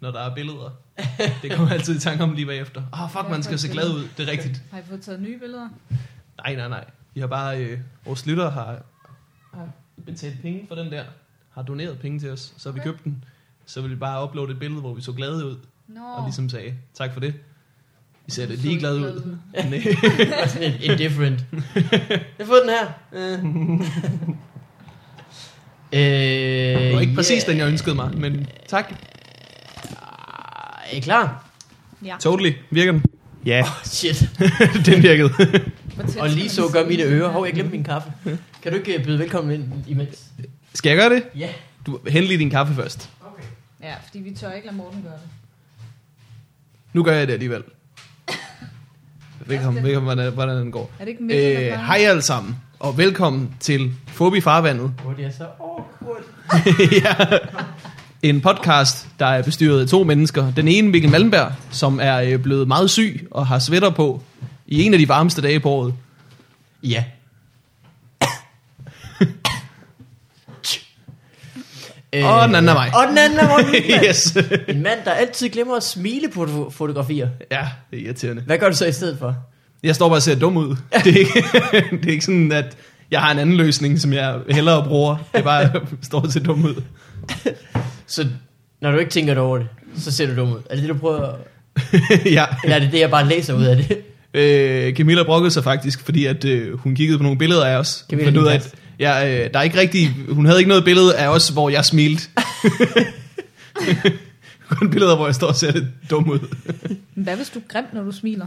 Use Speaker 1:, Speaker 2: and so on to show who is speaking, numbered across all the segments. Speaker 1: når der er billeder. Det kommer jeg altid i tanke om lige bagefter. Åh, oh, fuck,
Speaker 2: Ja,
Speaker 1: man skal
Speaker 2: fuck
Speaker 1: se
Speaker 2: det.
Speaker 1: glad ud. Det er rigtigt.
Speaker 2: Har I fået taget nye billeder?
Speaker 1: Nej, nej, nej. Vi har bare... Øh, vores lytter har,
Speaker 2: Ja.
Speaker 1: har betalt penge for den der. Har doneret penge til os. Så har vi
Speaker 2: Okay.
Speaker 1: købt den. Så vil vi bare uploade et billede, hvor vi så glade ud.
Speaker 2: Nå,
Speaker 1: Og ligesom sagde, tak for det. Vi ser
Speaker 2: Du
Speaker 1: det
Speaker 2: så
Speaker 1: lige glade
Speaker 2: glad
Speaker 1: ud. øh,
Speaker 2: ud.
Speaker 1: Nej.
Speaker 3: Bare sådan en Altså, indifferent. Jeg har fået den her. Øh. Øh,
Speaker 1: Det var ikke præcis den, jeg ønskede mig, men tak.
Speaker 3: Er I klar?
Speaker 2: ja.
Speaker 1: Totally. Virker den? Ja,
Speaker 3: Oh, shit.
Speaker 1: den virkede.
Speaker 2: Hvor tæt
Speaker 3: Og
Speaker 2: skal
Speaker 3: lige
Speaker 2: man
Speaker 3: så
Speaker 2: sidde?
Speaker 3: gør mine ører. Hov, jeg glemte min kaffe. Kan du ikke øh, byde velkommen ind imens?
Speaker 1: Skal jeg gøre det?
Speaker 3: Ja.
Speaker 1: Du, hent lige din kaffe først.
Speaker 3: Okay.
Speaker 2: Ja, fordi vi tør ikke lade Morten gøre det.
Speaker 1: Nu gør jeg det alligevel. Velkommen, velkommen hvordan, hvordan den går.
Speaker 2: Er det ikke Mikkel,
Speaker 1: Øh,
Speaker 2: der gør
Speaker 1: Hej alle sammen, og velkommen til Fobi Farvandet.
Speaker 3: Hvor det er så oh, awkward.
Speaker 1: ja. En podcast, der er bestyret af to mennesker. Den ene, Mikkel Malmberg, som er øh, blevet meget syg og har sweater på i en af de varmeste dage på året.
Speaker 3: Ja. Øh,
Speaker 1: Og den anden er mig.
Speaker 3: Og den anden er mig.
Speaker 1: yes.
Speaker 3: En mand, der altid glemmer at smile på fo- fotografier.
Speaker 1: ja, det er irriterende.
Speaker 3: Hvad gør du så i stedet for?
Speaker 1: Jeg står bare og ser dum ud. Det er ikke, det er ikke sådan, at jeg har en anden løsning, som jeg hellere bruger. Det er bare, at jeg står og ser dum ud.
Speaker 3: Så når du ikke tænker dig over det, så ser du dum ud. Er det det, du prøver? at-
Speaker 1: ja.
Speaker 3: Eller er det det, jeg bare læser ud af det?
Speaker 1: Øh, Camilla brokkede sig faktisk, fordi at, øh, hun kiggede på nogle billeder af os. Hun
Speaker 3: Camilla,
Speaker 1: fandt ud af,
Speaker 3: din
Speaker 1: at jeg, øh, der er ikke rigtig, hun havde ikke noget billede af os, hvor jeg smilte. Kun billeder, hvor jeg står og ser lidt dum ud.
Speaker 2: Men Hvad hvis du er grim, når du smiler?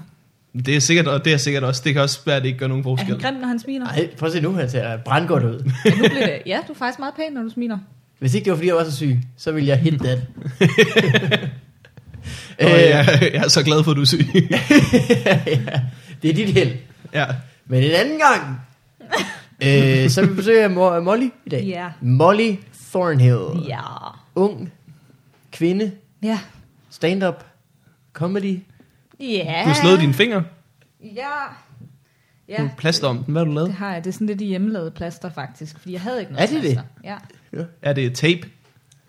Speaker 1: Det er sikkert, og det er sikkert også. Det kan også være, at det ikke gør nogen
Speaker 2: Er han
Speaker 1: forskel.
Speaker 2: grim, når han smiler?
Speaker 3: Nej, prøv at se nu, han ser brandgodt ud.
Speaker 2: Ja, nu bliver det. ja, du er faktisk meget pæn, når du smiler.
Speaker 3: Hvis ikke det var, fordi jeg var så syg, så ville jeg hit that.
Speaker 1: Og Øh, jeg, jeg er så glad for, at du er syg.
Speaker 3: ja, det er dit held.
Speaker 1: ja.
Speaker 3: Men en anden gang, øh, så vil vi besøge Mo- Molly i dag.
Speaker 2: Ja.
Speaker 3: Molly Thornhill.
Speaker 2: Ja.
Speaker 3: Ung, kvinde,
Speaker 2: Ja.
Speaker 3: stand-up, comedy.
Speaker 2: Ja.
Speaker 1: Du har slået dine fingre.
Speaker 2: Ja.
Speaker 1: Ja. Du
Speaker 2: Ja,
Speaker 1: plaster om den. Hvad har du
Speaker 2: det
Speaker 1: lavet?
Speaker 2: har jeg. Det er sådan lidt i hjemmelavede plaster, faktisk. Fordi jeg havde ikke noget
Speaker 3: Er det det?
Speaker 2: plaster. Ja.
Speaker 1: Er det tape?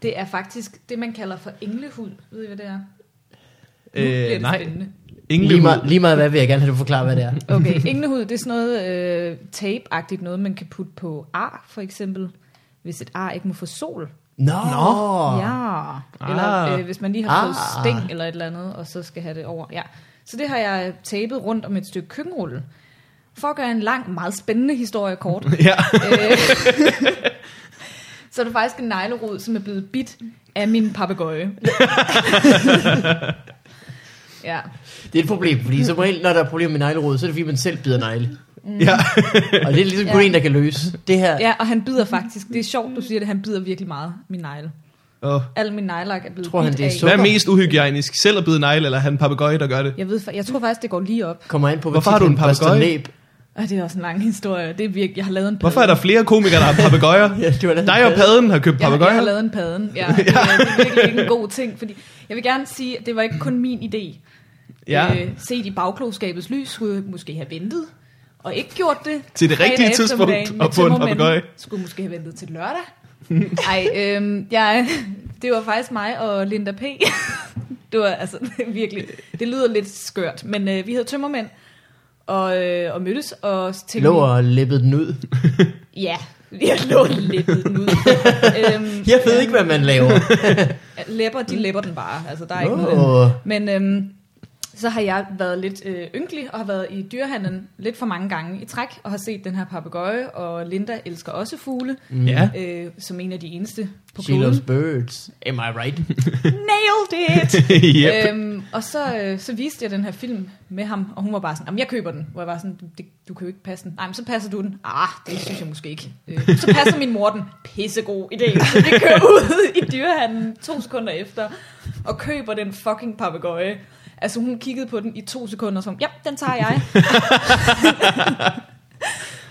Speaker 2: Det er faktisk det, man kalder for englehud. Ved I, hvad det er? Nu bliver
Speaker 1: Øh,
Speaker 2: det
Speaker 1: nej,
Speaker 2: spændende.
Speaker 1: ingen
Speaker 3: Lige
Speaker 1: lyd.
Speaker 3: meget, lige meget hvad vil jeg gerne have, du forklarer, hvad det er.
Speaker 2: Okay, englehud, det er sådan noget øh, tape-agtigt noget, man kan putte på ar, for eksempel. Hvis et ar ikke må få sol.
Speaker 3: Nå!
Speaker 1: Nå.
Speaker 2: Ja. Eller
Speaker 1: Ah.
Speaker 2: øh, hvis man lige har fået
Speaker 3: Ah.
Speaker 2: sting eller et eller andet, og så skal have det over. Ja. Så det har jeg tapet rundt om et stykke køkkenrulle. For at gøre en lang, meget spændende historie kort,
Speaker 1: Ja.
Speaker 2: øh, så er det faktisk en neglerod, som er blevet bidt af min papegøje. ja.
Speaker 3: Det er et problem, fordi som regel, når der er problemer med neglerod, så er det fordi, man selv bider negle.
Speaker 1: ja.
Speaker 3: Og det er ligesom kun
Speaker 2: Mm. Ja.
Speaker 3: en, der kan løse. Det her,
Speaker 2: ja, og han bider faktisk. Det er sjovt, du siger det. Han bider virkelig meget, min negle.
Speaker 1: Oh.
Speaker 2: Al min nejlak er blevet
Speaker 3: Tror han,
Speaker 2: bidt
Speaker 3: det er
Speaker 2: af.
Speaker 3: sundt?
Speaker 1: Hvad er mest uhygiejnisk? Selv at bide negle, eller han en papegøje, der gør det?
Speaker 2: Jeg, ved, fa- jeg tror faktisk, det går lige op.
Speaker 3: kommer an på, hvor
Speaker 1: Hvorfor
Speaker 3: tit
Speaker 1: har du
Speaker 3: han
Speaker 1: en
Speaker 3: børster
Speaker 1: papegøje?
Speaker 3: næb.
Speaker 2: Og det er også en lang historie. Det er virkelig, jeg har lavet en
Speaker 1: Hvorfor er der flere komikere, der har papegøjer?
Speaker 3: Ja, det var da-
Speaker 1: Dig og padden har købt
Speaker 2: jeg, har- jeg har
Speaker 1: papegøjer.
Speaker 2: lavet en paden. Ja, det, er, det er virkelig ikke en god ting, fordi jeg vil gerne sige, at det var ikke kun min idé.
Speaker 1: Ja,
Speaker 2: Øh, set i bagklogskabets lys, skulle jeg måske have ventet, og ikke gjort det.
Speaker 1: Til det
Speaker 2: Fredag
Speaker 1: rigtige tidspunkt
Speaker 2: eftermiddagen
Speaker 1: at
Speaker 2: med
Speaker 1: få en
Speaker 2: tømmermanden.
Speaker 1: papegøje.
Speaker 2: Skulle måske have ventet til lørdag. Ej, øhm, jeg, det var faktisk mig og Linda P. det var altså virkelig, det lyder lidt skørt, men øh, vi havde tømmermænd, og, øh, og mødtes og tænkte...
Speaker 3: Lå og læppede den ud.
Speaker 2: Ja, jeg lå lidt nu. øhm,
Speaker 3: Jeg ved ikke, hvad man laver.
Speaker 2: Læpper, de læpper den bare. Altså, der er ikke noget.
Speaker 3: Nå.
Speaker 2: Men øhm, så har jeg været lidt øh, ynkelig og har været i dyrehandlen lidt for mange gange i træk og har set den her papegøje og Linda elsker også fugle
Speaker 1: ja.
Speaker 2: øh, som en af de eneste på
Speaker 3: mm. She
Speaker 2: kloden.
Speaker 3: loves birds. Am I right?
Speaker 2: Nailed it!
Speaker 1: yep.
Speaker 2: Øhm, og så, øh, så viste jeg den her film med ham, og hun var bare sådan, "Jamen, jeg køber den. Hvor jeg var sådan, du, det, du kan jo ikke passe den. Nej, men så passer du den. Ah, det synes jeg måske ikke. Øh, så passer min mor den. Pissegod idé. Så vi kører ud i dyrehandlen to sekunder efter, og køber den fucking papegøje. Altså hun kiggede på den i to sekunder, som, ja, den tager jeg.
Speaker 3: Og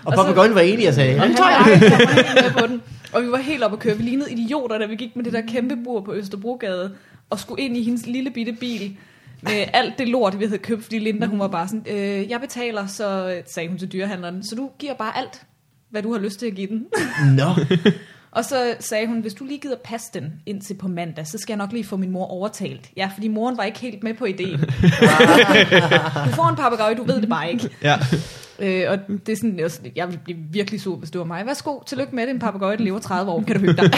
Speaker 2: Og så-
Speaker 3: papagøjen var enig, jeg sagde.
Speaker 2: Og han
Speaker 3: "Jamen, tak."
Speaker 2: var helt- han var helt med på den. Og vi var helt oppe at køre. Vi lignede idioter, da vi gik med det der kæmpe bur på Østerbrogade, og skulle ind i hendes lille bitte bil med alt det lort, vi havde købt, fordi Linda, hun var bare sådan, øh, jeg betaler, så sagde hun til dyrehandleren, så du giver bare alt, hvad du har lyst til at give den.
Speaker 3: Nå.
Speaker 2: Og så sagde hun, hvis du lige gider passe den indtil på mandag, så skal jeg nok lige få min mor overtalt. Ja, fordi moren var ikke helt med på ideen. du får en papegøje, du ved det bare ikke.
Speaker 1: Ja.
Speaker 2: Øh, og det er sådan, jeg, jeg ville blive virkelig sur, hvis det var mig. Værsgo, tillykke med det, en papegøje, der lever 30 år. Kan du hygge dig?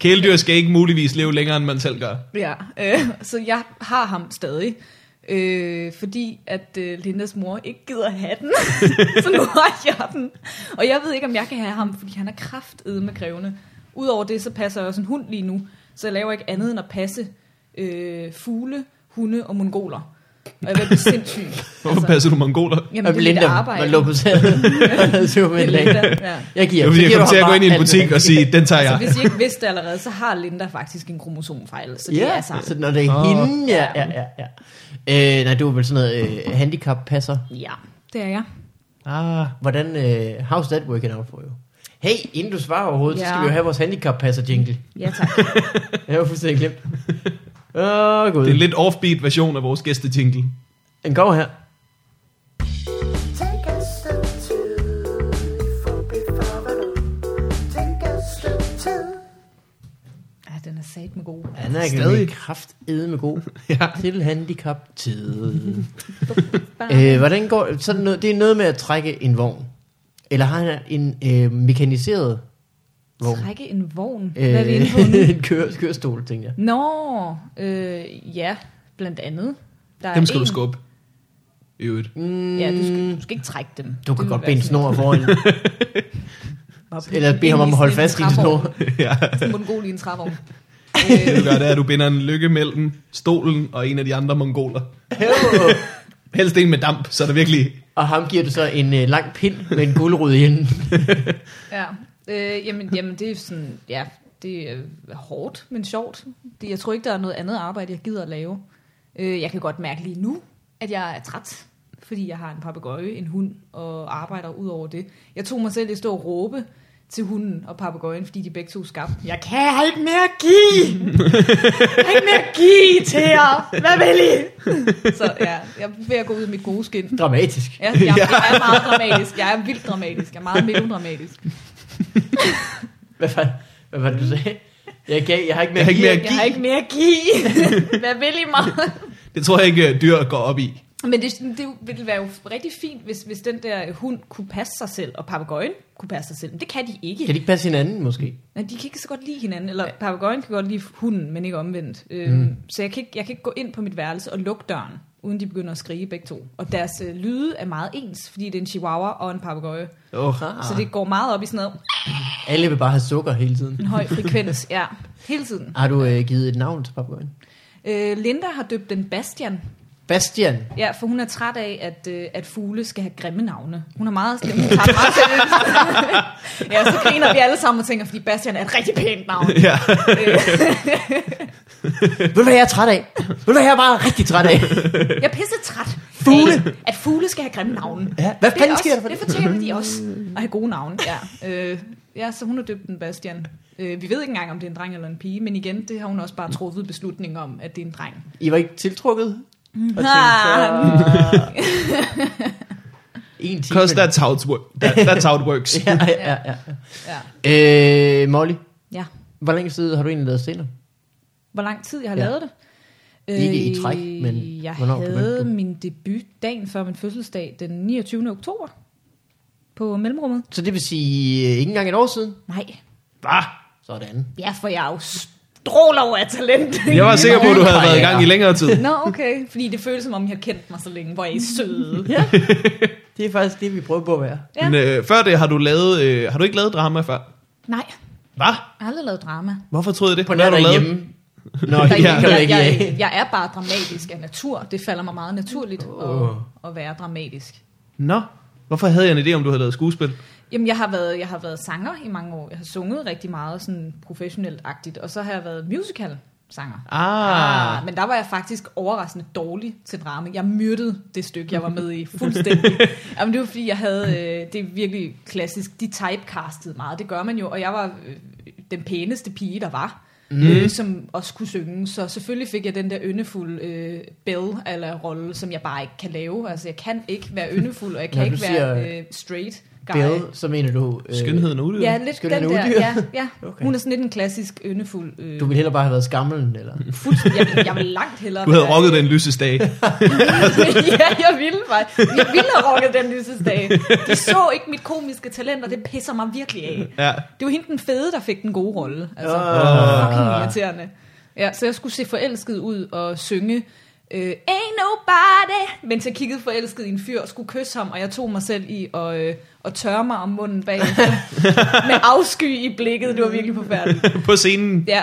Speaker 1: Kæledyr skal ikke muligvis leve længere, end man selv gør.
Speaker 2: Ja, øh, så jeg har ham stadig. Øh, fordi at øh, Lindas mor ikke gider have den. så nu har jeg den. Og jeg ved ikke, om jeg kan have ham, fordi han er kraftedet med krævende. Udover det, så passer jeg også en hund lige nu. Så jeg laver ikke andet end at passe øh, fugle, hunde og mongoler. Og jeg vil blive sindssyg.
Speaker 1: Hvorfor
Speaker 2: Altså-
Speaker 1: passer du mongoler?
Speaker 2: jamen, det er mit
Speaker 3: var
Speaker 2: arbejde.
Speaker 3: lukket til. Det var
Speaker 2: Det er
Speaker 3: min dag.
Speaker 2: Linda, ja.
Speaker 3: Jeg
Speaker 1: Det er
Speaker 3: giver, så
Speaker 1: fordi, jeg
Speaker 3: giver
Speaker 1: kom
Speaker 3: du
Speaker 1: til at
Speaker 3: ham
Speaker 1: gå ind i en
Speaker 3: bare alt
Speaker 1: butik
Speaker 3: det.
Speaker 1: og sige, den tager
Speaker 2: Så
Speaker 1: jeg.
Speaker 2: Altså, hvis I ikke vidste det allerede, så har Linda faktisk en kromosomfejl. Så det
Speaker 3: Ja,
Speaker 2: er altså- sammen.
Speaker 3: så når det er
Speaker 1: Åh.
Speaker 3: hende, ja, ja, ja. ja. Øh, nej, du er vel sådan noget øh, handicappasser.
Speaker 2: Ja, det er jeg.
Speaker 3: Ah, hvordan, øh, how's that working out for you? Hey, inden du svarer overhovedet, ja. så
Speaker 2: Ja.
Speaker 3: skal vi jo have vores handicappasser jingle.
Speaker 2: Ja, tak.
Speaker 3: Jeg har fuldstændig glemt. Åh, oh, gud.
Speaker 1: Det er en lidt offbeat version af vores gæstejingle.
Speaker 3: Den kommer her.
Speaker 4: Take us to two for before. Take us to two.
Speaker 2: Ja, den er sat med god.
Speaker 3: Han er
Speaker 1: Stadig.
Speaker 3: stadig kraft med god
Speaker 1: Ja.
Speaker 3: til handicap tid. øh, hvordan går så er det, noget, det er noget med at trække en vogn. Eller har han en øh, mekaniseret vogn?
Speaker 2: Trække en vogn?
Speaker 3: Øh.
Speaker 2: Hvad er vi inde på nu?
Speaker 3: en køre, kørestol, tænker jeg.
Speaker 2: Nå, øh, ja, blandt andet. Der er
Speaker 1: Dem skal du
Speaker 2: en-
Speaker 1: skubbe. I øvrigt.
Speaker 3: Mm,
Speaker 2: Ja, du skal, du skal ikke trække dem.
Speaker 3: Du
Speaker 2: Det
Speaker 3: kan
Speaker 2: vil
Speaker 3: godt
Speaker 2: være
Speaker 3: binde en
Speaker 2: sådan-
Speaker 3: snor foran.
Speaker 2: Bare putte
Speaker 3: Eller
Speaker 2: dem
Speaker 3: bede ham
Speaker 2: ind
Speaker 3: om at holde
Speaker 2: sådan en
Speaker 3: fast i en
Speaker 2: trævogn.
Speaker 3: snor.
Speaker 1: Ja.
Speaker 2: Sådan en mongol i en trævogn. Øh,
Speaker 1: Det du gør, det er, at du binder en lykke mellem stolen og en af de andre mongoler. Helst en med damp, så er det virkelig...
Speaker 3: Og ham giver du så en øh, lang pind med en guldrød i enden.
Speaker 2: Ja, øh, jamen, jamen det er sådan, ja, det er øh, hårdt, men sjovt. Det, jeg tror ikke, der er noget andet arbejde, jeg gider at lave. Øh, jeg kan godt mærke lige nu, at jeg er træt, fordi jeg har en papegøje, en hund og arbejder ud over det. Jeg tog mig selv i at stå og råbe til hunden og papegøjen, fordi de begge to skabte. Jeg kan jeg har ikke mere at give! Jeg har ikke mere at give til jer! Hvad vil I? Så ja, jeg er ved at gå ud af mit gode skin.
Speaker 3: Dramatisk.
Speaker 2: Ja, jeg, jeg er meget dramatisk. Jeg er vildt dramatisk. Jeg er meget melodramatisk.
Speaker 3: Hvad fanden? Hvad var det, du sagde? Jeg, gav, Mm. jeg har ikke mere
Speaker 1: Jeg har ikke mere
Speaker 3: at
Speaker 1: at
Speaker 2: Jeg har ikke mere at give. Hvad vil I mig?
Speaker 1: Det tror jeg ikke, at dyr går op i.
Speaker 2: Men det, det ville være jo rigtig fint, hvis, hvis den der hund kunne passe sig selv, og papegøjen kunne passe sig selv. Men det kan de ikke.
Speaker 3: give. Kan de ikke passe hinanden, måske?
Speaker 2: Nej, de kan ikke så godt lide hinanden. Eller papegøjen kan godt lide hunden, men ikke omvendt. Øhm, mm. Så jeg kan, ikke, jeg kan ikke gå ind på mit værelse og lukke døren, uden de begynder at skrige begge to. Og deres øh, lyde er meget ens, fordi det er en chihuahua og en papegøje.
Speaker 3: Oh.
Speaker 2: Ah. Så det går meget op i sådan noget,
Speaker 3: Alle vil bare have sukker hele tiden.
Speaker 2: en høj frekvens. ja, hele tiden.
Speaker 3: Har du øh, givet et navn til papagøjen?
Speaker 2: Øh, Linda har døbt den Bastian,
Speaker 3: Bastian.
Speaker 2: Ja, for hun er træt af, at, øh, at fugle skal have grimme navne. Hun er meget slem. Hun tager det meget seriøst. ja, så griner vi alle sammen og tænker, fordi Bastian er et rigtig pænt navn.
Speaker 1: Ja.
Speaker 2: Øh,
Speaker 3: Ved du, hvad jeg er træt af? Ved du, hvad jeg er bare rigtig træt af?
Speaker 2: jeg er pisse træt
Speaker 3: Fugle.
Speaker 2: af, at fugle skal have grimme navne.
Speaker 3: Ja, hvad
Speaker 2: Det, er
Speaker 3: fanden
Speaker 2: også,
Speaker 3: sker der for
Speaker 2: det
Speaker 3: det?
Speaker 2: fortjener de også at have gode navne. Ja, øh, ja så hun har døbt den Bastian. Øh, vi ved ikke engang, om det er en dreng eller en pige, men igen, det har hun også bare truffet beslutning om, at det er en dreng.
Speaker 3: I var ikke tiltrukket? Og
Speaker 2: Ah.
Speaker 3: tænkte, "Ah." en time.
Speaker 1: Because that's how, it's work. that, that's how it works.
Speaker 3: Ja, ja, ja.
Speaker 2: Ja.
Speaker 3: Øh, Molly,
Speaker 2: ja.
Speaker 3: hvor længe siden har du egentlig lavet scener?
Speaker 2: hvor lang tid jeg har
Speaker 3: Ja.
Speaker 2: ja. lavet det.
Speaker 3: Ikke i
Speaker 2: Øh,
Speaker 3: træk, men
Speaker 2: Jeg
Speaker 3: hvornår begyndte
Speaker 2: havde
Speaker 3: du?
Speaker 2: min debut dagen før min fødselsdag, den 29. oktober, på mellemrummet.
Speaker 3: Så det vil sige øh, ikke engang et år siden?
Speaker 2: Nej,
Speaker 1: Bah.
Speaker 3: Sådan.
Speaker 2: ja, for jeg er jo stråler over af talent.
Speaker 1: Jeg var sikker på, at du havde været i gang i længere tid.
Speaker 2: Nå, okay. Fordi det føles, som om I har kendt mig så længe, hvor I er søde.
Speaker 3: Det er faktisk det, vi prøver på at være.
Speaker 2: Ja.
Speaker 1: Men øh, før det har du lavet, øh, har du ikke lavet drama før?
Speaker 2: Nej,
Speaker 1: Hvad?
Speaker 2: jeg har aldrig lavet drama.
Speaker 1: Hvorfor troede jeg det?
Speaker 3: På
Speaker 1: Hvad
Speaker 3: nær
Speaker 1: har du lavet?
Speaker 3: derhjemme. Nå,
Speaker 2: Der,
Speaker 3: det
Speaker 2: jeg,
Speaker 3: kan du
Speaker 2: jeg,
Speaker 3: ikke.
Speaker 2: jeg,
Speaker 3: ja.
Speaker 2: jeg er bare dramatisk af natur. Det falder mig meget naturligt at, at være dramatisk.
Speaker 1: Nå, hvorfor havde jeg en idé, om du havde lavet skuespil?
Speaker 2: Jamen, jeg har, været, jeg har været sanger i mange år. Jeg har sunget rigtig meget sådan professionelt-agtigt. Og så har jeg været musical-sanger.
Speaker 1: Ah.
Speaker 2: men der var jeg faktisk overraskende dårlig til drama. Jeg myrdede det stykke, jeg var med i fuldstændig. Jamen, det var fordi, jeg havde... Øh, det er virkelig klassisk. De typecastede meget. Det gør man jo. Og jeg var øh, den pæneste pige, der var. Mm. Øh, som også kunne synge. Så selvfølgelig fik jeg den der yndefulde øh, bell eller rolle, som jeg bare ikke kan lave. Altså, jeg kan ikke være yndefuld, og jeg kan
Speaker 3: Når du
Speaker 2: ikke være
Speaker 3: siger-
Speaker 2: øh, straight. guy.
Speaker 3: Bill, så mener du... Øh,
Speaker 1: Skønheden og ulyden.
Speaker 2: Ja, lidt
Speaker 3: Skønheden
Speaker 2: den
Speaker 3: er
Speaker 2: der.
Speaker 3: udyr.
Speaker 2: Ja, ja.
Speaker 3: Okay.
Speaker 2: Okay. Hun er sådan lidt en klassisk yndefuld. Øh,
Speaker 3: Du ville hellere bare have været skammelen, eller?
Speaker 2: fuldstændig- jeg, vil- jeg vil langt hellere.
Speaker 1: Du
Speaker 3: øh,
Speaker 1: havde
Speaker 2: være-
Speaker 1: rocket den lysesdag.
Speaker 2: ja, jeg ville faktisk. Jeg ville have rocket den lysesdag. De så ikke mit komiske talent, og det pisser mig virkelig af.
Speaker 1: Ja.
Speaker 2: Det var hende den fede, der fik den gode rolle. Altså,
Speaker 3: Ah.
Speaker 2: fucking irriterende. Ja, så jeg skulle se forelsket ud og synge øh, Ain't nobody, mens jeg kiggede forelsket i en fyr og skulle kysse ham, og jeg tog mig selv i at, øh, at tørre mig om munden bag med afsky i blikket. Det var virkelig forfærdeligt.
Speaker 1: På scenen.
Speaker 2: Ja.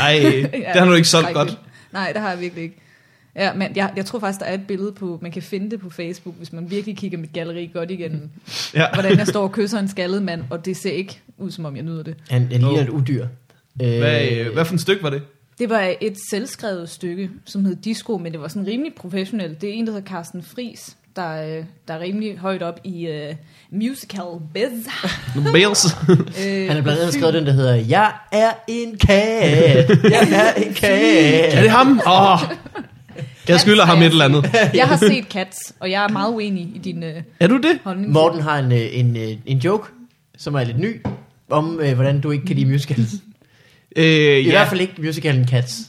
Speaker 1: Ej, det har du ikke solgt godt.
Speaker 2: Nej, det har jeg virkelig ikke. Ja, men jeg, jeg tror faktisk, der er et billede på, man kan finde det på Facebook, hvis man virkelig kigger mit galleri godt igennem.
Speaker 1: Ja.
Speaker 2: Hvordan jeg står og kysser en skaldet mand, og det ser ikke ud, som om jeg nyder det.
Speaker 3: Han, han ligner
Speaker 1: Åh.
Speaker 3: et udyr. Øh,
Speaker 1: Hvad, øh, hvad for en stykke var det?
Speaker 2: Det var et selvskrevet stykke, som hed Disco, men det var sådan rimelig professionelt. Det er en, der hedder Carsten Fris, der, øh, der er rimelig højt op i uh, musical biz.
Speaker 1: Bales.
Speaker 2: Øh,
Speaker 3: Han har blandt andet skrevet den, der hedder Jeg er en kat, jeg er en
Speaker 1: Er
Speaker 3: kat.
Speaker 1: det ham? Åh. Jeg skylder ham et eller andet.
Speaker 2: Jeg har set Cats, og jeg er meget uenig i din øh,
Speaker 1: Er du det?
Speaker 2: holdning.
Speaker 3: Morten har en, øh, en, øh, en joke, som er lidt ny, om øh, hvordan du ikke kan lide musicals. I
Speaker 1: Øh, ja.
Speaker 3: hvert fald ikke musicalen Cats.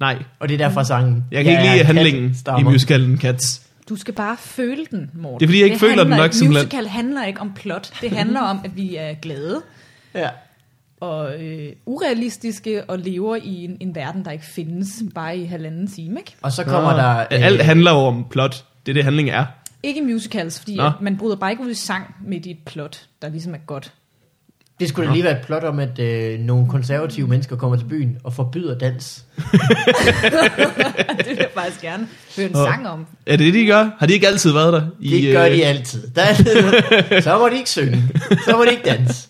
Speaker 1: Nej.
Speaker 3: Og det er derfor sangen.
Speaker 1: Jeg kan ikke
Speaker 3: er
Speaker 1: lide
Speaker 3: en kat,
Speaker 1: handlingen i
Speaker 3: stammer.
Speaker 1: musicalen Cats.
Speaker 2: Du skal bare føle den, Morten.
Speaker 1: Det er, fordi jeg ikke føler den
Speaker 2: handler
Speaker 1: nok,
Speaker 2: ikke-
Speaker 1: simpelthen.
Speaker 2: Musical handler ikke om plot. Det handler om, at vi er glade
Speaker 3: Ja.
Speaker 2: og øh, urealistiske og lever i en, en verden, der ikke findes bare i halvanden time. Ikke,
Speaker 3: Og så kommer
Speaker 1: Nå.
Speaker 3: der...
Speaker 1: Ah.
Speaker 3: øh,
Speaker 1: Alt handler jo om plot. Det er det, handling er.
Speaker 2: ikke i musicals, fordi
Speaker 1: Nå.
Speaker 2: at man bryder bare ikke ud i sang midt i et plot, der ligesom er godt.
Speaker 3: Det skulle da lige være et plot om, at øh, nogle konservative mennesker kommer til byen og forbyder dans.
Speaker 2: det vil jeg faktisk gerne høre en
Speaker 1: Nå.
Speaker 2: sang om.
Speaker 1: Er det det, de gør? Har de ikke altid været der? I,
Speaker 3: Det I, gør
Speaker 1: øh,
Speaker 3: de altid. Der, så må de ikke synge. Så må de ikke danse.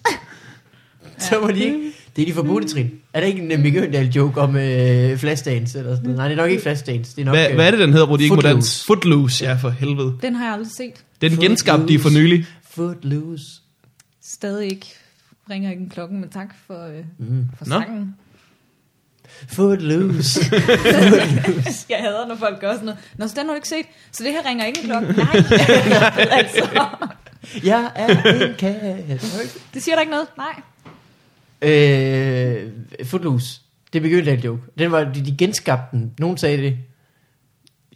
Speaker 3: Så må de ikke... Det er de forbudte trin. Er der ikke en øh, Mikke Høndal joke om øh, flashdance eller sådan noget? Nej, det er nok ikke flashdance. Det er nok...
Speaker 1: Hvad,
Speaker 3: øh,
Speaker 1: hvad er det, den hedder, hvor de ikke må
Speaker 3: Footloose.
Speaker 1: danse? Footloose, ja, for helvede.
Speaker 2: Den har jeg aldrig set.
Speaker 1: Den
Speaker 3: Footloose.
Speaker 1: genskabte de for nylig.
Speaker 3: Footloose.
Speaker 2: Stadig ikke ringer ikke en klokken, men tak for, øh,
Speaker 3: Mm.
Speaker 2: for
Speaker 1: Nå.
Speaker 2: sangen.
Speaker 3: Footloose.
Speaker 2: Jeg hader, når folk gør sådan noget. Nå, så den har du ikke set, så det her ringer ikke en klokke. Nej, altså.
Speaker 3: Jeg er en kat.
Speaker 2: Det siger der ikke noget. Nej.
Speaker 3: Øh, Footloose. Det begyndte af en joke. Den var, de, de genskabte den. Nogen sagde det.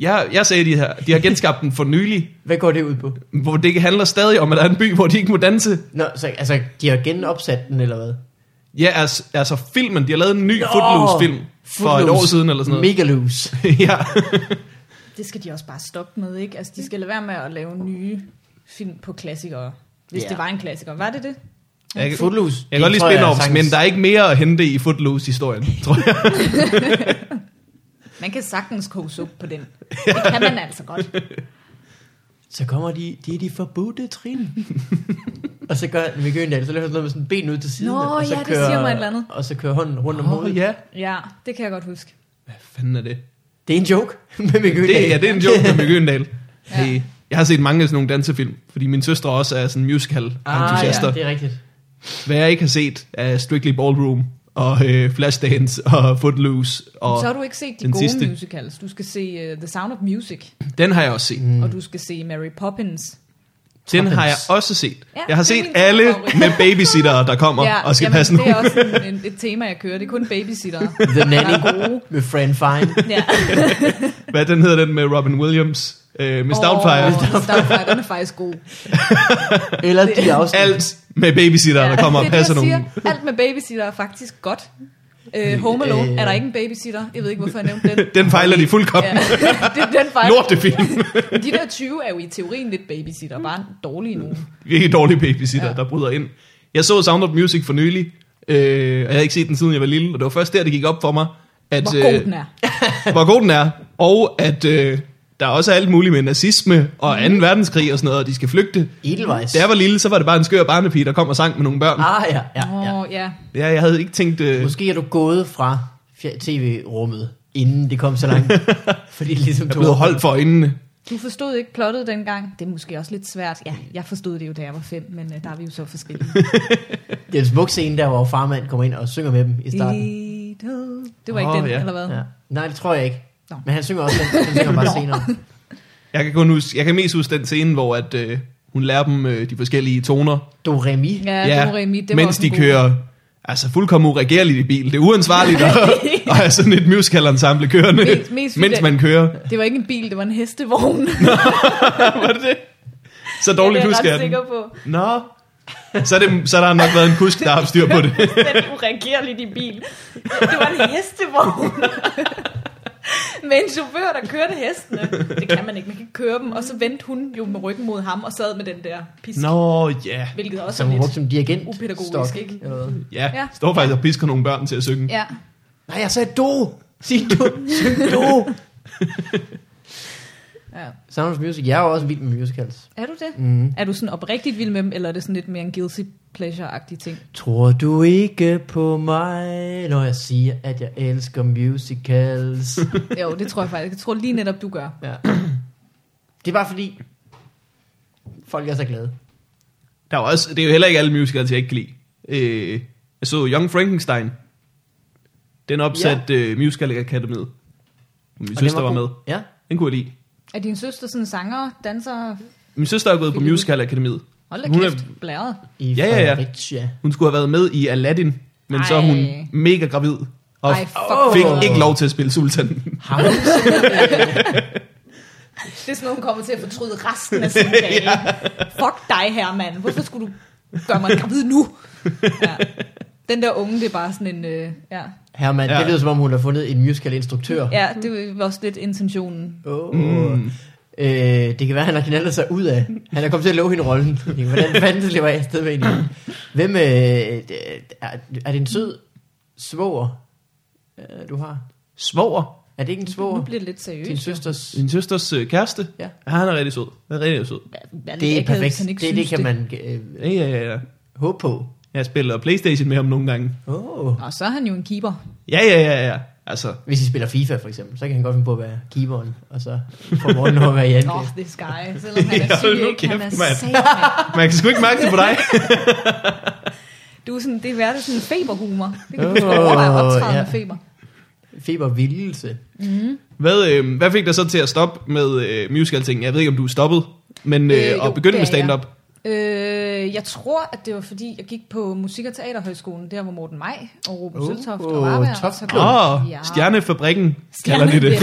Speaker 1: Jeg, jeg sagde de her, de har genskabt den for nylig,
Speaker 3: Hvad går det ud på?
Speaker 1: hvor det handler stadig om, at der er en by, hvor de ikke må danse.
Speaker 3: Nå, så, altså, de har genopsat den, eller hvad?
Speaker 1: Ja, altså, altså filmen, de har lavet en ny Footloose-film for et år siden eller sådan noget.
Speaker 3: Mega loose.
Speaker 1: ja.
Speaker 2: Det skal de også bare stoppe med, ikke? Altså, de skal lade være med at lave nye film på klassikere. Hvis
Speaker 3: Ja.
Speaker 2: yeah. det var en klassiker. Var det det?
Speaker 1: Jeg kan,
Speaker 3: Footloose.
Speaker 1: jeg kan godt lide spin-offs, men der er ikke mere at hente i Footloose-historien, tror jeg.
Speaker 2: Man kan sagtens kose op på den. Det kan man altså godt.
Speaker 3: Så kommer de, det er de forbudte trin. og så gør den Mikke Øndal, så laver han sådan noget med sådan ben ud til siden.
Speaker 2: Nå,
Speaker 3: og så
Speaker 2: ja, det siger mig et eller andet.
Speaker 3: Og så kører hånden rundt om
Speaker 1: Åh,
Speaker 3: hovedet.
Speaker 1: ja.
Speaker 2: Ja, det kan jeg godt huske.
Speaker 1: Hvad fanden er det?
Speaker 3: Det er en joke med Mikke Øndal.
Speaker 1: det ja, det er en joke med Mikke Øndal.
Speaker 2: Ja.
Speaker 1: Hey, jeg har set mange af sådan nogle dansefilm, fordi min søster også er sådan
Speaker 3: Ah,
Speaker 1: musical-entusiaster.
Speaker 3: ja, det er rigtigt.
Speaker 1: Hvad jeg ikke har set er Strictly Ballroom og øh, Flashdance og Footloose. Og
Speaker 2: så har du ikke set de
Speaker 1: den
Speaker 2: gode
Speaker 1: sidste.
Speaker 2: sidste. musicals. Du skal se uh, The Sound of Music,
Speaker 1: Den har jeg også set.
Speaker 2: mm. og du skal se Mary Poppins.
Speaker 1: Den har jeg
Speaker 3: Toppens.
Speaker 1: også set.
Speaker 2: Ja,
Speaker 1: jeg har
Speaker 2: det er
Speaker 1: set
Speaker 2: min
Speaker 1: alle
Speaker 2: favorit.
Speaker 1: med babysittere, der kommer ja, og skal
Speaker 2: jamen,
Speaker 1: passe
Speaker 2: det
Speaker 1: nogen.
Speaker 2: er også en, en, et tema, jeg kører. Det er kun babysitter.
Speaker 3: Mm. The Nanny
Speaker 2: Der er gode.
Speaker 3: med Fran Fine.
Speaker 2: Ja.
Speaker 1: Hvad den hedder den med Robin Williams? Øh, med Doubtfire.
Speaker 2: Oh, Stoutfire, den er faktisk god.
Speaker 3: Eller de afsnit.
Speaker 1: Alt med babysittere, der kommer og
Speaker 2: det er
Speaker 1: passer
Speaker 2: det, jeg
Speaker 1: nogen.
Speaker 2: Siger. Alt med babysitter er faktisk godt. Øh, Home Alone
Speaker 3: Øh.
Speaker 2: er der ikke en babysitter. Jeg ved ikke, hvorfor jeg nævnte den.
Speaker 1: Den fejler de fuldkommen.
Speaker 2: Ja. det er den fejl.
Speaker 1: Lortefilm.
Speaker 2: De der 20 er jo i teorien lidt babysitter, bare dårlige nu.
Speaker 1: Virkelig dårlige babysitter, ja.
Speaker 2: Ja.
Speaker 1: der bryder ind. Jeg så Sound of Music for nylig, øh, og jeg havde ikke set den siden jeg var lille, og det var først der, det gik op for mig, at, øh,
Speaker 2: Hvor god den er.
Speaker 1: hvor god den er, og at øh, der også er alt muligt med nazisme og
Speaker 2: Mhm.
Speaker 1: 2. verdenskrig og sådan noget, og de skal flygte.
Speaker 3: Edelweiss.
Speaker 1: Da jeg var lille, så var det bare en skør barnepige, der kom og sang med nogle børn.
Speaker 3: Ah, ja, ja,
Speaker 2: Åh,
Speaker 3: ja.
Speaker 2: ja. Oh, ja.
Speaker 1: Ja, jeg havde ikke tænkt... Øh,
Speaker 3: Måske er du gået fra fjer- tv-rummet, inden det kom så langt. fordi det ligesom
Speaker 1: jeg blev holdt for øjnene.
Speaker 2: Du forstod ikke plottet dengang. Det er måske også lidt svært. Ja, jeg forstod det jo, da jeg var fem, men øh, der er vi jo så forskellige.
Speaker 3: Det er en smuk scene der, hvor farmand kommer ind og synger med dem i starten.
Speaker 2: Little- Det var ikke
Speaker 1: Åh,
Speaker 2: den,
Speaker 1: ja.
Speaker 2: eller hvad?
Speaker 3: Ja. Nej, det tror jeg ikke.
Speaker 2: Nå.
Speaker 3: Men han synger også den. Han synger bare
Speaker 2: Nå.
Speaker 3: senere.
Speaker 1: Jeg kan, kun huske, jeg kan mest huske den scene, hvor at, øh, hun Hun lærer dem øh, de forskellige toner.
Speaker 3: Do re mi.
Speaker 2: Ja, ja det var Remi, det var
Speaker 1: mens
Speaker 2: også
Speaker 1: de
Speaker 2: en god-
Speaker 1: kører altså fuldkommen uregerligt i bil. Det er uansvarligt at, at have sådan et musical ensemble kørende,
Speaker 2: Mest- mest sygt,
Speaker 1: mens
Speaker 2: at-
Speaker 1: man kører.
Speaker 2: Det var ikke en bil, det var en hestevogn.
Speaker 1: Var det det? Så dårligt
Speaker 2: det er
Speaker 1: husker
Speaker 2: jeg
Speaker 1: jeg
Speaker 2: ret
Speaker 1: den.
Speaker 2: sikker på.
Speaker 1: Nå. Så, er det, så der har nok været en kusk, der har haft styr på det.
Speaker 2: Den uregerligt i bil. Det var en hestevogn. Med en chauffør, der kørte hestene. Det kan man ikke, man kan ikke køre dem. Og så vendte hun jo med ryggen mod ham og sad med den der pisk.
Speaker 1: Nå, ja.
Speaker 2: Hvilket også
Speaker 3: Som
Speaker 2: er
Speaker 3: hun
Speaker 2: lidt...
Speaker 3: brugte som dirigent.
Speaker 2: upædagogisk,
Speaker 3: stok,
Speaker 2: ikke?
Speaker 3: eller hvad?
Speaker 1: Ja,
Speaker 2: Ja.
Speaker 1: står faktisk og pisker nogle børn til at synge.
Speaker 2: Ja.
Speaker 3: Nej, jeg sagde do. Sig do. Syng do.
Speaker 2: ja.
Speaker 3: Sound of Music. Jeg er jo også vild med musicals.
Speaker 2: Er du det?
Speaker 3: Mm.
Speaker 1: Mhm.
Speaker 2: Er du sådan oprigtigt vild med dem, eller er det sådan lidt mere en guilty pleasure-agtig ting?
Speaker 3: Tror du ikke på mig, når jeg siger, at jeg elsker musicals?
Speaker 2: Jo, det tror jeg faktisk. Jeg tror lige netop, du gør.
Speaker 3: ja. Det er bare fordi, folk er så glade.
Speaker 1: Der er jo også, det er jo heller ikke alle musicals, jeg ikke kan lide. Øh, jeg så Young Frankenstein. Den opsat ja. øh, Musical Academyet. Min
Speaker 3: Og
Speaker 1: søster
Speaker 3: den
Speaker 1: var, var med.
Speaker 3: god. Ja.
Speaker 1: Den kunne jeg lide.
Speaker 2: Er din søster sådan sanger, danser?
Speaker 1: Min søster er gået på
Speaker 2: Fint.
Speaker 1: Musical Academyet.
Speaker 2: Hold da
Speaker 1: Hun er-
Speaker 2: kæft, blæret.
Speaker 3: I
Speaker 1: Ja, ja, ja.
Speaker 3: Fredericia.
Speaker 1: Hun skulle have været med i Aladdin, men Ej. så er hun
Speaker 2: Ej.
Speaker 1: mega gravid. Og
Speaker 2: Ej, fuck.
Speaker 1: fik ikke lov til at spille sultanen.
Speaker 3: Har hun
Speaker 2: Det er sådan noget, hun kommer til at fortryde resten af sin dag. Fuck dig her, mand. Hvorfor skulle du gøre mig gravid nu? Ja. Den der unge, det er bare sådan en... Øh, ja.
Speaker 3: Herman,
Speaker 1: Ja.
Speaker 3: det lyder som om, hun har fundet en musical-instruktør.
Speaker 2: ja, det var også lidt intentionen.
Speaker 3: Oh.
Speaker 1: Mm.
Speaker 3: Mm. Øh, det kan være, han har knaldet sig ud af. Han er kommet til at love hende rollen. Hvordan fanden slipper jeg afsted med hende? Hvem, øh, er, er det en sød svoger, øh, du har?
Speaker 1: Svoger.
Speaker 3: Er det ikke en
Speaker 2: Nu
Speaker 3: svoger?
Speaker 2: bliver det lidt
Speaker 3: Din
Speaker 2: seriøst.
Speaker 3: søsters...
Speaker 1: Min søsters øh, kæreste.
Speaker 3: Ja.
Speaker 1: ja. Han er rigtig sød. Han er rigtig sød.
Speaker 2: Det
Speaker 3: Det er perfekt. Det, det kan man øh,
Speaker 1: Ja, ja, ja, ja.
Speaker 3: håbe på.
Speaker 1: Jeg spiller Playstation med ham nogle gange.
Speaker 3: Oh.
Speaker 2: Og så er han jo en keeper.
Speaker 1: Ja, ja, ja, ja. Altså,
Speaker 3: Hvis I spiller FIFA for eksempel, så kan han godt finde på at være keeperen, og så får morgenen over at være i
Speaker 2: Åh, oh,
Speaker 3: angreb.
Speaker 2: det er Sky. Selvom han er syg,
Speaker 1: Ja, nu
Speaker 2: ikke? Han er
Speaker 1: kæft, mand.
Speaker 2: satan.
Speaker 1: man kan sgu ikke mærke det på dig.
Speaker 2: Du er sådan, det er værd sådan en feberhumor. Det kan
Speaker 3: Åh,
Speaker 2: du oh, overveje at optræde
Speaker 3: ja.
Speaker 2: med feber.
Speaker 3: Febervildelse.
Speaker 1: Hvad, øh, hvad fik dig så til at stoppe med øh, musical-ting? Jeg ved ikke, om du er stoppet, men øh,
Speaker 2: Øh,
Speaker 1: øh,
Speaker 2: jo,
Speaker 1: at begynde med
Speaker 2: det er jeg.
Speaker 1: stand-up.
Speaker 2: Øh, jeg tror, at det var fordi, jeg gik på Musik- og Teaterhøjskolen. Der var Morten Maj og Ruben
Speaker 3: Uh,
Speaker 2: uh, Søltoft
Speaker 3: uh,
Speaker 2: og Varberg.
Speaker 3: top club.
Speaker 1: Åh, oh, Stjernefabrikken kalder de det.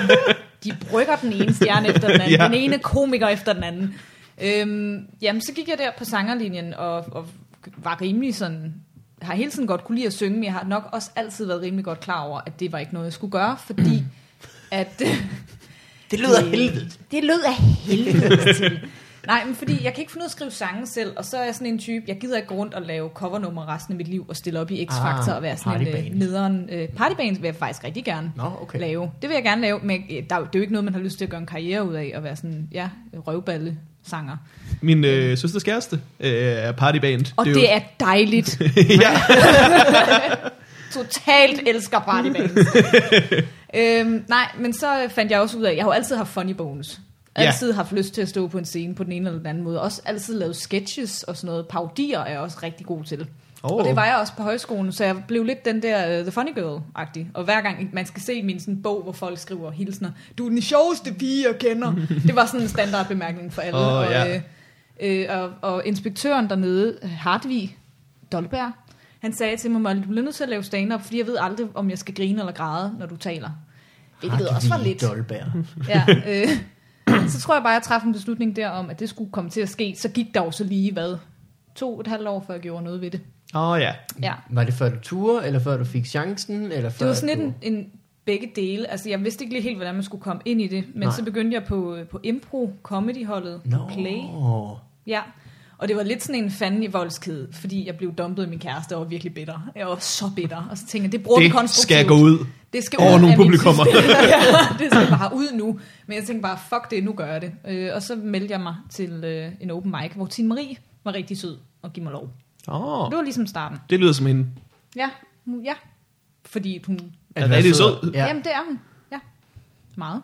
Speaker 2: de brygger den ene stjerne efter den anden.
Speaker 1: Ja.
Speaker 2: ja. Den ene komiker efter den anden. Øhm, jamen, så gik jeg der på sangerlinjen og, og var rimelig sådan... Har hele tiden godt kunne lide at synge, men jeg har nok også altid været rimelig godt klar over, at det var ikke noget, jeg skulle gøre, fordi at...
Speaker 3: Det lyder helvede.
Speaker 2: Mm. Det lød af helvede til. Nej, men fordi jeg kan ikke finde ud af at skrive sange selv, og så er jeg sådan en type, jeg gider ikke gå rundt og lave covernummer resten af mit liv og stille op i X-Factor
Speaker 3: Ah,
Speaker 2: og være sådan en
Speaker 3: partyband.
Speaker 2: øh, nederen... Øh, partyband vil jeg faktisk rigtig gerne
Speaker 3: Nå, okay.
Speaker 2: lave. Det vil jeg gerne lave, men øh, der, er jo- det er jo ikke noget, man har lyst til at gøre en karriere ud af, at være sådan, ja, røvballe sanger.
Speaker 1: Min øh, søsters kæreste øh, er partyband.
Speaker 2: Og det, det er dejligt.
Speaker 1: ja.
Speaker 2: Totalt elsker partybands. øhm, nej, men så fandt jeg også ud af, jeg har jo altid haft funny bones.
Speaker 1: Ja.
Speaker 2: Altid haft lyst til at stå på en scene på den ene eller den anden måde. Også altid lavet sketches og sådan noget. Paudier er jeg også rigtig god til.
Speaker 1: Oh.
Speaker 2: Oh. Og det var jeg også på højskolen, så jeg blev lidt den der uh, The Funny Girl-agtig. Og hver gang man skal se min sådan, bog, hvor folk skriver hilsner, du er den sjoveste pige, jeg kender. det var sådan en standardbemærkning for alle.
Speaker 1: Åh,
Speaker 2: og,
Speaker 1: ja.
Speaker 2: øh, øh, og, og inspektøren dernede, Hartvig Dolberg, han sagde til mig, "Molly, du bliver nødt til at lave stand-up, fordi jeg ved aldrig, om jeg skal grine eller græde, når du taler. Hvilket også var lidt.
Speaker 3: Dolberg.
Speaker 2: Ja, øh, så tror jeg bare, jeg træffede en beslutning der om, at det skulle komme til at ske. Så gik der jo så lige, hvad, to og et halvt år, før jeg gjorde noget ved det.
Speaker 1: Åh oh, ja.
Speaker 2: Ja.
Speaker 3: Var det før du turde, eller før du fik chancen? Eller før
Speaker 2: Det var sådan lidt
Speaker 3: du...
Speaker 2: en, en begge dele. Altså, jeg vidste ikke lige helt, hvordan man skulle komme ind i det, men
Speaker 3: Nej.
Speaker 2: Nej. så begyndte jeg på, øh, på impro, comedyholdet,
Speaker 3: Nå.
Speaker 2: no. play. Ja. Og det var lidt sådan en fanden i voldsked, fordi jeg blev dumpet af min kæreste og var virkelig bitter. Jeg var så bitter. Og så tænkte jeg, det bruger vi
Speaker 1: Det
Speaker 2: konstruktivt.
Speaker 1: skal gå ud.
Speaker 2: Det skal
Speaker 1: over
Speaker 2: ud
Speaker 1: nogle
Speaker 2: af mit
Speaker 1: publikummer.
Speaker 2: system. ja, det skal bare ud nu. Men jeg tænkte bare, fuck det, nu gør jeg det. Øh, og så meldte jeg mig til øh, en open mic, hvor Tine Marie var rigtig sød og give mig lov.
Speaker 1: Oh,
Speaker 2: Det var ligesom starten.
Speaker 1: det lyder som hende.
Speaker 2: Ja, hun- ja. Fordi hun
Speaker 1: Er det rigtig sød?
Speaker 3: Ja.
Speaker 2: Ja. Jamen, det er hun. Ja. Meget.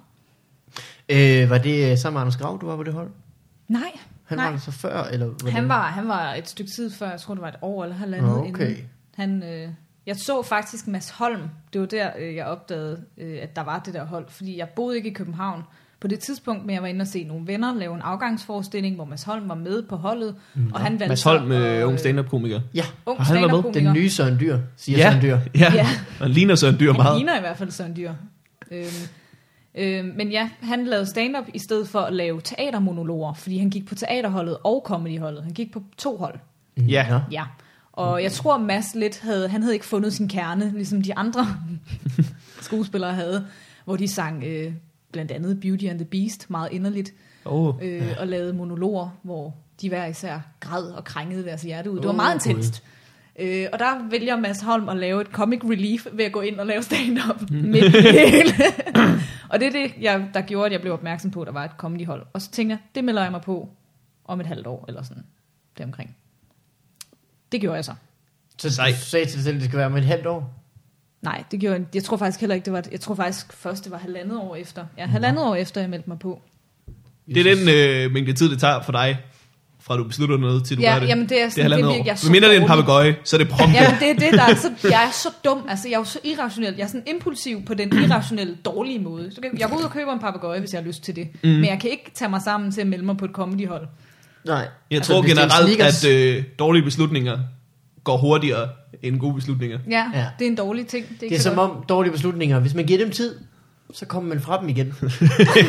Speaker 3: Øh, var det øh, sammen med Anders Grav, du var på det hold?
Speaker 2: Nej,
Speaker 3: Han
Speaker 2: nej.
Speaker 3: var der så før, eller hvordan?
Speaker 2: han, var, han var et stykke tid før, jeg tror, det var et år eller halvandet.
Speaker 3: Nå, okay.
Speaker 2: Inden. Han, øh, jeg så faktisk Mads Holm. Det var der, øh, jeg opdagede, øh, at der var det der hold. Fordi jeg boede ikke i København, på det tidspunkt, men jeg var inde og se nogle venner lave en afgangsforestilling, hvor Mads Holm var med på holdet, mm. og han valgte
Speaker 1: Mads Holm,
Speaker 2: så at-
Speaker 1: øh, ung stand-up-komiker.
Speaker 3: Ja,
Speaker 2: ung
Speaker 1: Har han været med?
Speaker 2: stand-up-komiker.
Speaker 3: den nye Søren Dyr, siger Søren Dyr.
Speaker 1: ja.
Speaker 2: Ja.
Speaker 1: ja. Og ligner Søren Dyr
Speaker 2: Han
Speaker 1: meget.
Speaker 2: ligner i hvert fald sådan dyr. Øhm, øhm, men ja, han lavede stand-up i stedet for at lave teatermonologer, fordi han gik på teaterholdet og comedyholdet. Han gik på to hold.
Speaker 1: Mm, Ja.
Speaker 3: Nå.
Speaker 2: Ja. Og jeg tror, Mads lidt havde, han havde ikke fundet sin kerne, ligesom de andre skuespillere havde, hvor de sang øh, blandt andet Beauty and the Beast meget inderligt,
Speaker 1: Oh.
Speaker 2: øh, og lavede monologer, hvor de hver især græd og krængede deres hjerte ud. Det var meget
Speaker 3: Åh, Gud.
Speaker 2: intenst. Øh, og der vælger Mads Holm at lave et comic relief ved at gå ind og lave stand-up
Speaker 3: Mm.
Speaker 2: midt i det hele. og det er det, jeg, der gjorde, at jeg blev opmærksom på, at der var et comedyhold. Og så tænkte jeg, det melder jeg mig på om et halvt år, eller sådan deromkring. Det gjorde jeg så.
Speaker 3: Så
Speaker 1: Sej.
Speaker 3: du sagde til dig selv, at det skal være om et halvt år.
Speaker 2: Nej, det gjorde jeg, jeg tror faktisk heller ikke, det var, jeg tror faktisk først, det var halvandet år efter. Ja, halvandet år efter, jeg meldte mig på.
Speaker 1: Det er den øh, mængde tid, det tager for dig, fra du beslutter noget, til du
Speaker 2: Ja,
Speaker 1: gør det.
Speaker 2: jamen, det er sådan-
Speaker 1: halvandet
Speaker 2: det
Speaker 1: år.
Speaker 2: virker- jeg er så
Speaker 1: Hvis mindre det er en
Speaker 2: dårlig.
Speaker 1: papegøje, så er det prompte.
Speaker 2: Ja, men det er det, der er så, jeg er så dum. Altså, jeg er jo så irrationel. Jeg er sådan impulsiv på den irrationelle, dårlige måde. Så kan, jeg går ud og køber en papegøje, hvis jeg har lyst til det. Mm. Men jeg kan ikke tage mig sammen til at melde mig på et comedyhold.
Speaker 3: Nej.
Speaker 1: Jeg tror
Speaker 3: Altså, hvis det er en
Speaker 1: generelt,
Speaker 3: sneakers-
Speaker 1: at øh, dårlige beslutninger går hurtigere end gode beslutninger.
Speaker 2: Ja,
Speaker 3: Ja.
Speaker 2: ja, det er en dårlig ting. Det er,
Speaker 3: Det er
Speaker 2: så
Speaker 3: som
Speaker 2: godt.
Speaker 3: om dårlige beslutninger. Hvis man giver dem tid, så kommer man fra dem igen.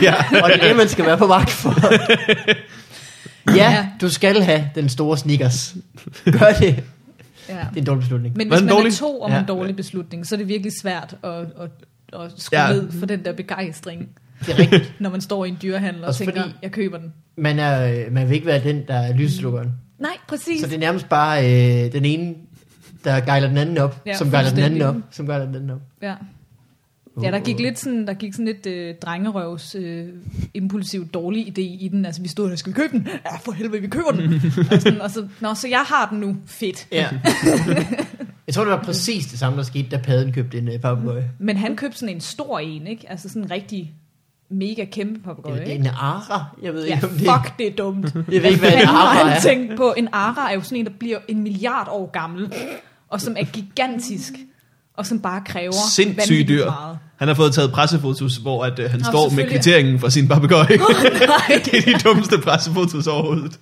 Speaker 1: ja.
Speaker 3: Og det er det, man skal være på vagt for. ja,
Speaker 2: Ja.
Speaker 3: du skal have den store sneakers. Gør
Speaker 2: Ja.
Speaker 3: det. Det er en dårlig beslutning.
Speaker 2: Men
Speaker 1: Var
Speaker 2: hvis
Speaker 1: den
Speaker 2: man
Speaker 1: dårlig?
Speaker 2: er to om ja.
Speaker 3: Ja.
Speaker 2: en dårlig beslutning, så er det virkelig svært at, at, at skrue
Speaker 1: Ja.
Speaker 2: ja. ned for den der begejstring,
Speaker 3: Det er rigtigt.
Speaker 2: når man står i en dyrehandel og
Speaker 3: Også
Speaker 2: tænker,
Speaker 3: fordi-
Speaker 2: fordi... jeg køber den.
Speaker 3: Man, er, øh, man vil ikke være den, der er lyseslukkeren.
Speaker 2: Nej, præcis.
Speaker 3: Så det er nærmest bare øh, den ene, der gejler den anden op, ja,
Speaker 2: Ja,
Speaker 3: som gejler den anden op,
Speaker 2: fuldstændig.
Speaker 3: som gejler den anden op.
Speaker 2: Ja. Ja, der gik lidt sådan, der gik sådan lidt øh, drengerøvs øh, impulsiv dårlig idé i den. Altså, vi stod og skulle vi købe den. Ja, for helvede, vi køber den. og, sådan, og så, nå, så jeg har den nu. Fedt.
Speaker 3: Ja. Jeg tror, det var præcis det samme, der skete, da padden købte en øh, papegøje.
Speaker 2: Men han købte sådan en stor en, ikke? Altså sådan en rigtig mega kæmpe papegøje,
Speaker 3: Det er
Speaker 2: ikke?
Speaker 3: en ara. Jeg ved
Speaker 2: Ja,
Speaker 3: ikke, om det
Speaker 2: fuck, det er dumt.
Speaker 3: Jeg ved ikke, hvad en
Speaker 2: Fanden har
Speaker 3: ara
Speaker 2: han
Speaker 3: er.
Speaker 2: tænkt på? En ara er jo sådan en, der bliver en milliard år gammel, og som er gigantisk, og som bare kræver
Speaker 1: Sindssyge
Speaker 2: vanvittigt
Speaker 1: dyr.
Speaker 2: meget.
Speaker 1: Han har fået taget pressefotos, hvor at, øh, han
Speaker 2: Nå,
Speaker 1: står med
Speaker 2: selvfølgelig.
Speaker 1: kvitteringen fra sin papegøje.
Speaker 2: Nej.
Speaker 1: det er de dummeste pressefotos overhovedet.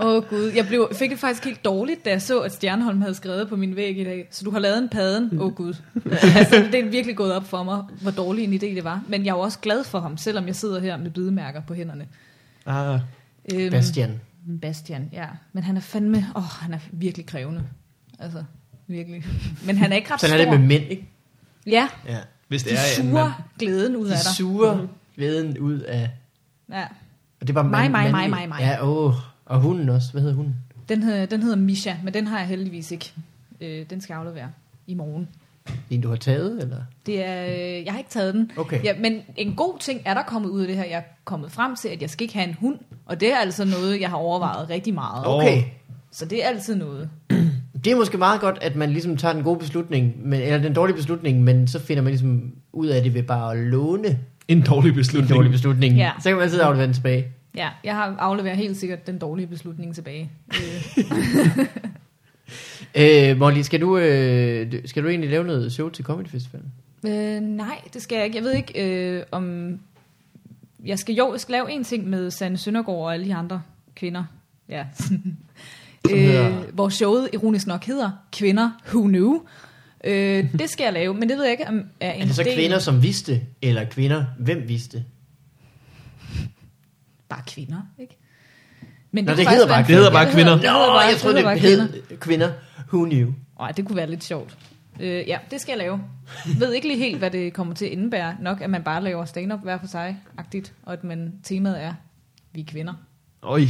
Speaker 2: Åh oh, gud, jeg blev, fik det faktisk helt dårligt, da jeg så, at Stjernholm havde skrevet på min væg i dag. Så du har lavet en paden. Åh oh, gud. altså, det er virkelig gået op for mig, hvor dårlig en idé det var. Men jeg er jo også glad for ham, selvom jeg sidder her med bidemærker på hænderne.
Speaker 1: Ah.
Speaker 2: Øhm,
Speaker 3: Bastian.
Speaker 2: Bastian, ja. Men han er fandme, åh, oh, han er virkelig krævende. Altså, virkelig. Men han er ikke ret
Speaker 3: Sådan er
Speaker 2: stor.
Speaker 3: det med mænd, ikke?
Speaker 2: Ja,
Speaker 3: Ja.
Speaker 1: Hvis det
Speaker 2: de
Speaker 1: er en mand.
Speaker 2: suger glæden ud af
Speaker 3: De
Speaker 2: dig.
Speaker 3: suger veden ud af...
Speaker 2: Ja.
Speaker 3: Og det var
Speaker 2: Mig,
Speaker 3: mand-
Speaker 2: mig, mig, mig,
Speaker 3: mandlig-
Speaker 2: mig.
Speaker 3: Ja, åh. Og hunden også. Hvad hedder hunden?
Speaker 2: Den, hedder, den hedder Misha, men den har jeg heldigvis ikke. Øh, den skal jeg aflevere i morgen.
Speaker 3: En, du har taget, eller?
Speaker 2: Det er, øh, jeg har ikke taget den.
Speaker 3: Okay.
Speaker 2: Ja, men en god ting er der kommet ud af det her. Jeg er kommet frem til, at jeg skal ikke have en hund. Og det er altså noget, jeg har overvejet rigtig meget.
Speaker 1: Åh.
Speaker 3: Okay.
Speaker 2: Så det er altid noget.
Speaker 3: Det er måske meget godt, at man ligesom tager den gode beslutning, men, eller den dårlige beslutning, men så finder man ligesom ud af det ved bare at låne
Speaker 1: En dårlig
Speaker 3: en
Speaker 1: beslutning.
Speaker 3: dårlig beslutning.
Speaker 2: Ja.
Speaker 3: Så kan man sidde og aflevere den tilbage.
Speaker 2: Ja, jeg har afleveret helt sikkert den dårlige beslutning tilbage. Øh,
Speaker 3: Øh, Molly, skal du, øh, du- skal du egentlig lave noget show til Comedy Festivalen?
Speaker 2: øh, nej, det skal jeg ikke. Jeg ved ikke, øh, om... Jeg skal jo jeg skal lave en ting med Sanne Søndergaard og alle de andre kvinder. Ja.
Speaker 3: hedder-
Speaker 2: øh, hvor showet ironisk nok hedder Kvinder Who Knew. Øh, det skal jeg lave, men det ved jeg ikke, om er en
Speaker 3: Er det så
Speaker 2: del...
Speaker 3: kvinder, som vidste, eller kvinder, hvem vidste?
Speaker 2: bare kvinder, ikke? Men
Speaker 3: Nå,
Speaker 2: kunne
Speaker 3: det
Speaker 2: faktisk
Speaker 3: hedder
Speaker 2: være-
Speaker 3: bare-
Speaker 1: det hedder bare kvinder.
Speaker 2: det hedder
Speaker 3: Nå,
Speaker 2: bare-
Speaker 3: jeg troede,
Speaker 2: hedder
Speaker 3: det
Speaker 2: bare
Speaker 3: hed kvinder. Who knew?
Speaker 2: Ej, det kunne være lidt sjovt. Øh, ja, det skal jeg lave. Ved ikke lige helt, hvad det kommer til at indebære. Nok, at man bare laver stand-up hver for sig, agtigt, og at man, temaet er, vi er kvinder.
Speaker 1: Oj.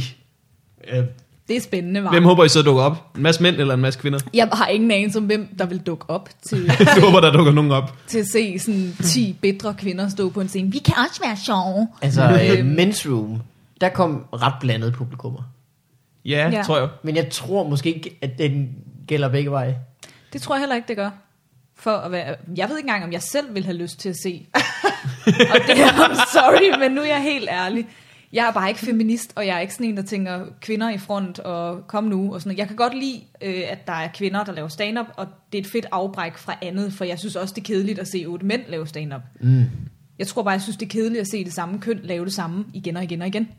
Speaker 1: Øh,
Speaker 2: Det er spændende, var.
Speaker 1: Hvem håber I så dukker op? En masse mænd eller en masse kvinder?
Speaker 2: Jeg har ingen anelse om, hvem der vil dukke op til,
Speaker 1: Du håber, der dukker nogen op.
Speaker 2: til at se sådan 10 bedre kvinder stå på en scene. Vi kan også være sjove.
Speaker 3: Altså, øh,
Speaker 2: Øhm.
Speaker 3: Men's Room, der kom ret blandet publikummer.
Speaker 1: Ja,
Speaker 2: Ja.
Speaker 1: tror jeg.
Speaker 3: Men jeg tror måske ikke, at den gælder begge veje.
Speaker 2: Det tror jeg heller ikke, det gør. For at være, jeg ved ikke engang, om jeg selv vil have lyst til at se. og det er, I'm sorry, men nu er jeg helt ærlig. Jeg er bare ikke feminist, og jeg er ikke sådan en, der tænker kvinder i front, og kom nu, og sådan noget. Jeg kan godt lide, øh, at der er kvinder, der laver stand-up, og det er et fedt afbræk fra andet, for jeg synes også, det er kedeligt at se otte mænd lave stand-up. Mm. Jeg tror bare, jeg synes, det er kedeligt at se det samme køn lave det samme igen og igen og igen.